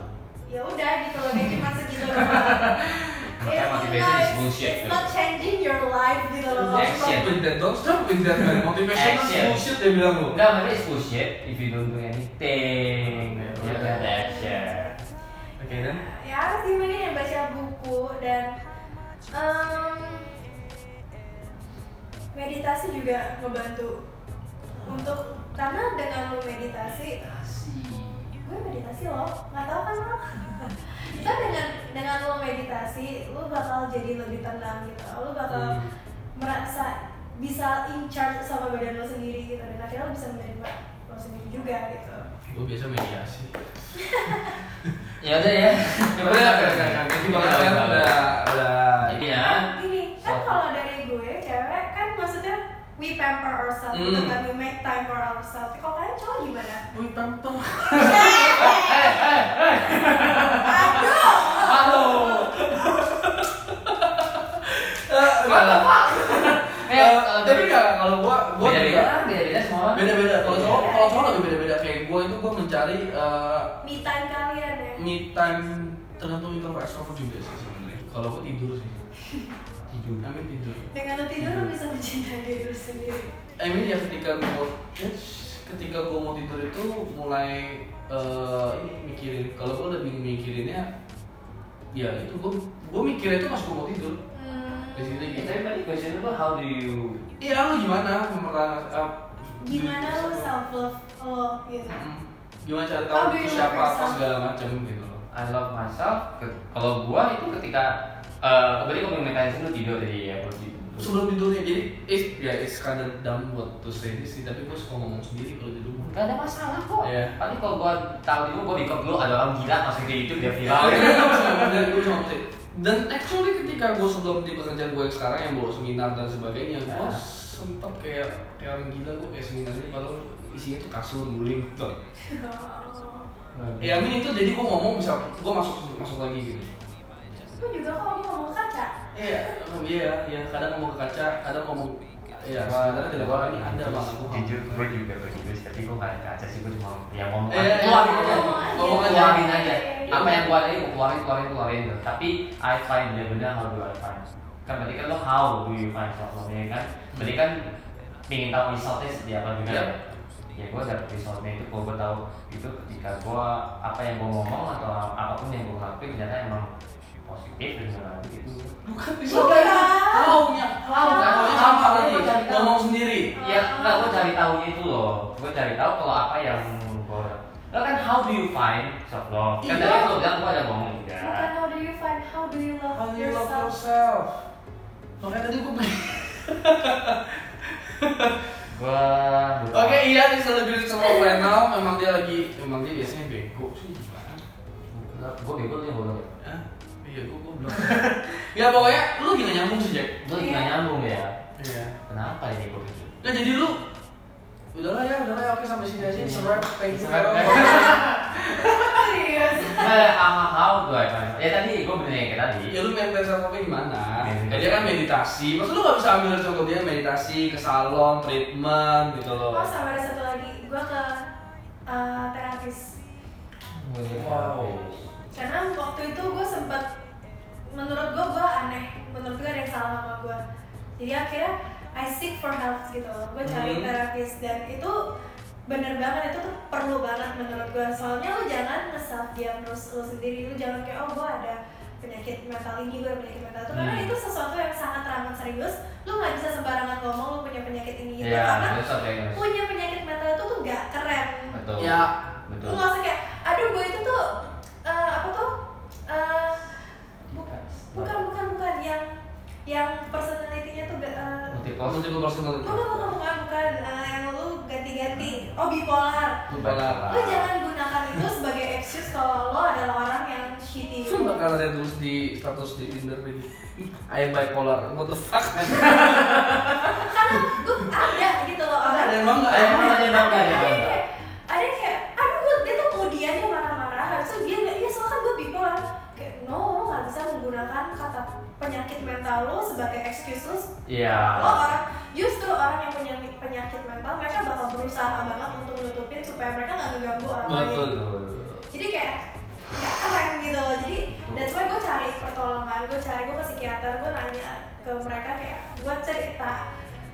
Speaker 3: ya udah gitu loh kayak cuma segitu doang
Speaker 1: Makanya
Speaker 3: It's
Speaker 1: motivation is
Speaker 3: not-
Speaker 1: bullshit,
Speaker 3: it's
Speaker 1: gitu.
Speaker 3: not changing your life gitu loh kalau
Speaker 1: Action.
Speaker 3: cuma-
Speaker 2: Stop with that, don't stop with that man. Motivation is
Speaker 1: Action.
Speaker 2: bullshit dia bilang "Oh." lu.
Speaker 1: Enggak, tapi it's bullshit if you don't do anything. Ya kan, action.
Speaker 2: Oke dan
Speaker 3: ya harus gimana ya baca buku dan em, meditasi juga ngebantu untuk karena dengan lu meditasi gue meditasi loh nggak tahu kan lo kan dengan dengan lo meditasi lo bakal jadi lebih tenang gitu lo bakal
Speaker 2: Hmm.
Speaker 3: merasa bisa in charge sama badan lo sendiri gitu dan akhirnya lo bisa menerima lo sendiri juga gitu
Speaker 2: gue biasa mediasi.
Speaker 1: Ya udah ya.
Speaker 2: Udah, udah, udah, udah. Thank you banget Fer. udah, udah.
Speaker 1: Jadi ya.
Speaker 3: Kan gini, kan kalau dari gue cewek kan maksudnya we pamper ourselves gitu
Speaker 2: Hmm.
Speaker 3: kan, we make time for ourselves. Kalau kalian cowok gimana?
Speaker 2: Wih, tampang.
Speaker 3: Aduh,
Speaker 1: Halo.
Speaker 2: Eh, enggak lah.
Speaker 1: Eh,
Speaker 2: Eh, tapi enggak kalau gua gua
Speaker 1: beda-beda,
Speaker 2: juga-
Speaker 1: beda-beda semua. Iya.
Speaker 2: beda-beda. Kalau cowok, kalau cowok lebih beda-beda kayak gua itu gua mencari eh,
Speaker 3: me time kalian ya.
Speaker 2: me time tergantung introvert extrovert juga sih sebenarnya. Kalau gua tidur sih. Tidur. Amin tidur.
Speaker 3: Dengan lo tidur lo bisa mencintai diri lo sendiri.
Speaker 2: I mean ya ketika gua yes, ketika gua mau tidur itu mulai eh, ini mikirin kalau gua lebih mikirinnya ya itu gua gua mikirnya itu pas gua mau tidur
Speaker 3: Hmm,
Speaker 2: di situ
Speaker 1: Eh,
Speaker 2: gitu
Speaker 1: Tapi tadi question lu how do you
Speaker 2: iya lu gimana mempertahankan eh,
Speaker 3: gimana
Speaker 2: diri-
Speaker 3: lo self love lo gitu?
Speaker 2: Mm, gimana cara
Speaker 3: How
Speaker 2: tahu
Speaker 3: do
Speaker 2: itu
Speaker 3: you
Speaker 2: siapa
Speaker 3: love
Speaker 2: apa
Speaker 3: yourself?
Speaker 2: segala macam gitu loh
Speaker 1: I love myself? Ke- Kalau gua itu ketika eh tadi gua mekanisme lu tidur tadi ya, gua tidur.
Speaker 2: sebelum tidurnya jadi it's ya it's kinda dumb what to say this sih tapi gua suka ngomong sendiri kalau di rumah
Speaker 1: Gak ada masalah kok.
Speaker 2: Iya.
Speaker 1: Paling kalau gua tahu dulu gua backup dulu ada orang gila masuk ke YouTube dia
Speaker 2: Ya. Nah,
Speaker 1: viral.
Speaker 2: dan gue cuma mesti- dan actually ketika gue sebelum di pekerjaan gue yang sekarang yang bawa seminar dan sebagainya gue
Speaker 1: Ah.
Speaker 2: sempet kayak kayak orang gila gue kayak seminarnya kalau isinya tuh kasur guling tuh ya I mean, itu jadi gue ngomong bisa gue masuk masuk lagi gitu
Speaker 3: Gue juga kok ngomong kan, kaca.
Speaker 2: iya oh, iya ya kadang ngomong ke kaca kadang ngomong Iya.
Speaker 1: sebenarnya di luar ini ada bang aku
Speaker 4: jujur gue juga begitu sih, tapi gue gak ada aja sih gue cuma ya ngomong
Speaker 1: Eh,
Speaker 4: aja.
Speaker 1: keluarin
Speaker 3: iya.
Speaker 1: aja.
Speaker 3: Ngomong aja.
Speaker 1: keluarin aja.
Speaker 3: Iya.
Speaker 1: Apa yang keluarin gue keluarin, keluarin, keluarin. gitu. Tapi I find dia benar how do I find? Kan berarti kan lo how do you find problemnya kan? Berarti kan pengen tahu resultnya seperti apa juga
Speaker 2: Iya.
Speaker 1: ya? Ya gue dapet resultnya itu gue gue tahu itu ketika gue apa yang gue ngomong atau apapun yang gue lakuin ternyata emang positif dan sebagainya gitu.
Speaker 2: Bukan
Speaker 3: Bukan.
Speaker 2: Taunya, tau kan?
Speaker 1: Tahu,
Speaker 2: Sama
Speaker 1: tahu,
Speaker 2: lagi.
Speaker 1: tahu.
Speaker 2: Ngomong sendiri.
Speaker 1: Ya, enggak, gue cari tahunya itu loh. Gue cari tahu kalau apa yang gue Lo kan how do you find self love? Kan
Speaker 2: Iya.
Speaker 1: tadi lo bilang gue ada ngomong juga.
Speaker 3: Bukan how do you find, how do you love yourself?
Speaker 2: yourself. Makanya tadi gue
Speaker 1: Gue
Speaker 2: Oke, iya bisa lebih sama Venom. Memang dia lagi, memang dia biasanya bego sih. gimana?
Speaker 1: Gue bego tuh yang gue
Speaker 2: Hah? Iya, gue gue belum. ya pokoknya lu gak nyambung sih Jack.
Speaker 1: Gue lagi nggak nyambung ya.
Speaker 2: Iya.
Speaker 1: Kenapa ini gue gitu?
Speaker 2: Nah jadi lu udahlah ya, udahlah ya. Oke sampai sini aja. It's a wrap. Thank you.
Speaker 1: It's a wrap.
Speaker 2: Venom.
Speaker 3: Serius?
Speaker 1: Eh, sama how do I find? Ya tadi gue bener yang kayak tadi.
Speaker 2: Ya lu main mental health gimana?
Speaker 1: Main
Speaker 2: Ya, dia kan meditasi. Maksud lu gak bisa ambil contoh dia meditasi ke salon, treatment gitu loh.
Speaker 3: Oh sama ada satu lagi, gue ke eh, terapis
Speaker 2: Wow.
Speaker 3: karena waktu itu gue sempet menurut gue gue aneh menurut gue ada yang salah sama gue jadi akhirnya I seek for help gitu gue cari
Speaker 2: Hmm.
Speaker 3: terapis dan itu bener banget itu tuh perlu banget menurut gue soalnya lu jangan nge-self diagnose lu sendiri lu jangan kayak oh gue ada penyakit mental ini gue ada penyakit mental itu karena
Speaker 1: Hmm.
Speaker 3: itu sesuatu yang sangat amat serius lu nggak bisa sembarangan ngomong lu punya penyakit ini gitu
Speaker 1: Iya,
Speaker 3: karena
Speaker 1: itu satu yang harus-
Speaker 3: punya penyakit mental itu tuh gak keren
Speaker 1: Betul.
Speaker 2: Ya,
Speaker 1: Betul.
Speaker 3: lu langsung kayak aduh gue itu tuh eh, apa tuh eh, bukan bukan bukan bukan yang yang personality-nya tuh gak eh,
Speaker 1: Multiple.
Speaker 2: kalau juga personal.
Speaker 3: bukan bukan bukan bukan eh, yang lu ganti-ganti oh bipolar
Speaker 2: Lu bakal
Speaker 1: Ah.
Speaker 3: lu jangan gunakan itu sebagai excuse kalau lo adalah orang yang shitty
Speaker 2: lu bakal ada tulis di status di Tinder ini. I am bipolar. What the fuck?
Speaker 3: karena gue ada gitu loh orang
Speaker 2: Ada yang bangga, ada yang
Speaker 1: bangga, ada yang bangga, ada yang
Speaker 3: yang
Speaker 1: bangga.
Speaker 3: kayak ada yang kayak aduh gue dia tuh kemudiannya marah-marah habis itu dia nggak iya soalnya kan gue bipolar kayak no lo nggak bisa menggunakan kata penyakit mental lo sebagai excuse lo
Speaker 1: Iya.
Speaker 3: lo orang justru orang yang punya penyakit mental mereka bakal berusaha banget untuk nutupin supaya mereka nggak mengganggu orang lain
Speaker 2: Betul.
Speaker 1: Oh,
Speaker 3: jadi kayak nggak keren gitu loh jadi dan why gue cari pertolongan gue cari gue ke psikiater gue nanya ke mereka kayak gue cerita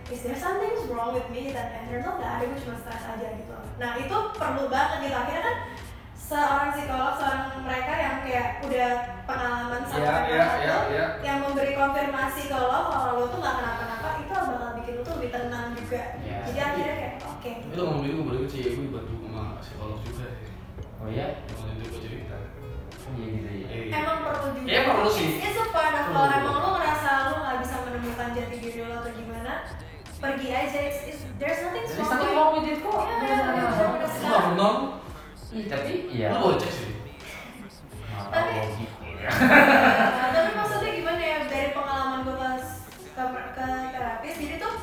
Speaker 3: is there something wrong with me dan and there's not nggak ada gue cuma stres aja gitu loh. nah itu perlu banget gitu akhirnya kan seorang psikolog seorang mereka yang kayak udah pengalaman sama
Speaker 2: Ya, ya,
Speaker 3: mereka
Speaker 2: ya,
Speaker 3: tuh,
Speaker 2: ya.
Speaker 3: yang memberi konfirmasi kalau kalau lo tuh nggak kenapa-napa itu bakal bikin lo tuh lebih tenang juga
Speaker 1: Iya.
Speaker 3: jadi akhirnya kayak oke
Speaker 2: Tapi lu ngomong gitu gue balik sih, gue dibantu sama psikolog juga. ya.
Speaker 1: Oh iya.
Speaker 2: Waktu itu gue cerita.
Speaker 1: Oh iya gitu ya.
Speaker 2: Eh,
Speaker 3: emang perlu juga
Speaker 2: Iya, perlu sih.
Speaker 3: It's- it's a part of-
Speaker 2: Perlu.
Speaker 3: kalau emang lo ngerasa lo nggak bisa menemukan jati diri lo atau gimana pergi aja it's, it's, there's nothing
Speaker 1: Jadi
Speaker 3: wrong
Speaker 1: satu
Speaker 3: with-
Speaker 1: mau itu kok.
Speaker 3: Iya, iya, iya, iya,
Speaker 2: Lu gak pernah?
Speaker 1: Tapi iya.
Speaker 2: Lu bocek sih.
Speaker 1: Tapi
Speaker 3: Nah, tapi maksudnya gimana ya dari pengalaman gue pas ke, ke terapis jadi tuh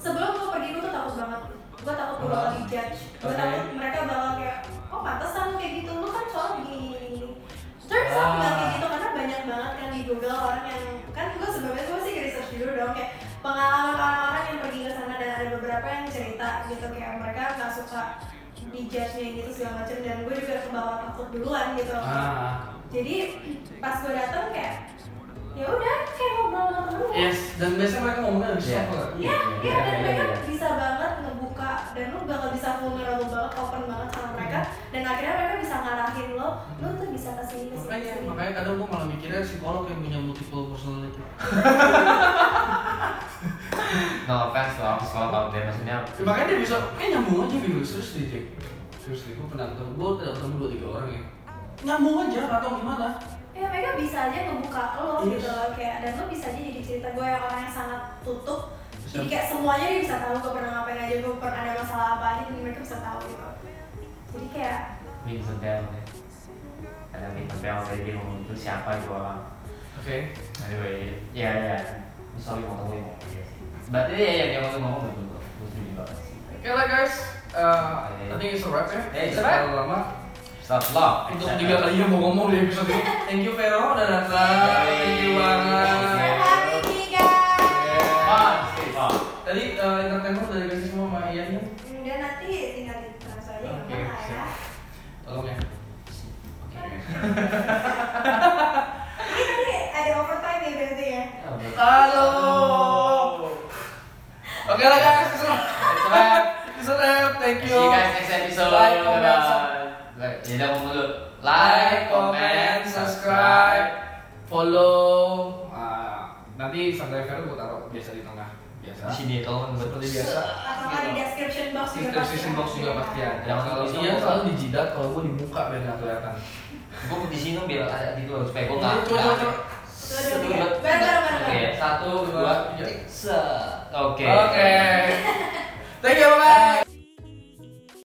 Speaker 3: sebelum gue pergi gue tuh takut banget gue takut gue bakal di judge gue
Speaker 2: Oke.
Speaker 3: takut mereka bakal kayak oh pantesan lu kayak gitu lu kan soalnya gini gini gini terus
Speaker 2: Ah.
Speaker 3: out nggak kayak gitu karena banyak banget kan di Google orang yang kan gue sebelumnya gue sih research dulu dong kayak pengalaman orang-orang yang pergi ke sana dan ada beberapa yang cerita gitu kayak mereka nggak suka di judge nya gitu segala macam dan gue juga kebawa takut duluan gitu
Speaker 2: Ah.
Speaker 3: jadi pas gue datang kayak ya udah kayak ngobrol sama temen ya
Speaker 2: Yes, dan biasanya mereka ngomongnya dari
Speaker 1: Iya.
Speaker 2: siapa?
Speaker 3: ya
Speaker 1: Iya,
Speaker 3: dan
Speaker 1: iya,
Speaker 3: mereka
Speaker 1: iya.
Speaker 3: bisa banget ngebuka dan lu bakal bisa vulnerable banget open banget sama mereka dan akhirnya mereka bisa ngarahin lo lo tuh bisa kesini kesini
Speaker 2: Makanya,
Speaker 3: kesini
Speaker 2: makanya kadang gue malah mikirnya psikolog yang punya multiple personality.
Speaker 1: no offense lah, sekolah out there maksudnya.
Speaker 2: Ya, makanya dia bisa kayak nyambung aja gitu terus di Jack terus di gue pernah ketemu gue udah ketemu dua tiga orang ya nyambung aja nggak tahu gimana
Speaker 3: ya mereka bisa aja ngebuka lo
Speaker 2: Iya.
Speaker 3: gitu loh kayak dan lo bisa aja jadi cerita gue yang orang yang sangat tutup
Speaker 2: Bisa.
Speaker 3: jadi kayak semuanya dia bisa tahu gue pernah ngapain aja gue pernah ada masalah apa aja dan mereka bisa tahu gitu jadi kayak
Speaker 1: Win Hotel ya. Ada Win Hotel tadi dia ngomong itu siapa itu orang.
Speaker 2: oke
Speaker 1: Anyway, ya ya. Sorry mau ngomong ngomong dia sih. Berarti ya ya dia ngomong ngomong betul kok. Gue setuju banget sih.
Speaker 2: oke lah guys uh, I think it's a wrap ya
Speaker 1: Hey, it's a wrap.
Speaker 2: terlalu lama
Speaker 1: Stop love.
Speaker 2: untuk tiga kali yang mau ngomong di episode ini thank you Vero udah datang thank you banget
Speaker 3: Thanks for having me guys
Speaker 1: One, two, one.
Speaker 2: Tadi eh, entertainment udah dikasih semua sama Ian ya?
Speaker 3: Udah nanti tinggal ditransfer aja
Speaker 2: Oke,
Speaker 3: gimana lah ya.
Speaker 2: siap. Tolong ya.
Speaker 3: Ini tadi ada overtime ya berarti ya.
Speaker 2: Halo. Oke lah guys, diserap. Diserap. Diserap. Thank
Speaker 1: See
Speaker 2: you.
Speaker 1: you guys next episode.
Speaker 2: Like, comment,
Speaker 1: Bye. Ya udah ngomong dulu.
Speaker 2: Like, comment, subscribe, follow. Ah, nanti subscriber gue taruh biasa di tengah. Biasa.
Speaker 1: Di sini tolong buat
Speaker 2: Seperti biasa.
Speaker 3: Atau nggak di description box juga pasti.
Speaker 2: Description box juga pasti ada.
Speaker 1: Yang
Speaker 2: Kalau
Speaker 1: bisa
Speaker 2: iya
Speaker 1: buka.
Speaker 2: selalu di jidat, kalau gue di muka biar nggak kelihatan.
Speaker 1: Gue di sini dong biar ada di luar supaya gue
Speaker 2: Nah. Coba,
Speaker 1: nggak.
Speaker 2: coba,
Speaker 1: nggak-
Speaker 2: coba.
Speaker 3: Tuh, tuh, tuh. Bareng, bareng, bareng.
Speaker 1: Oke, satu, dua,
Speaker 2: Tiga.
Speaker 1: tiga. Oke.
Speaker 2: Oke.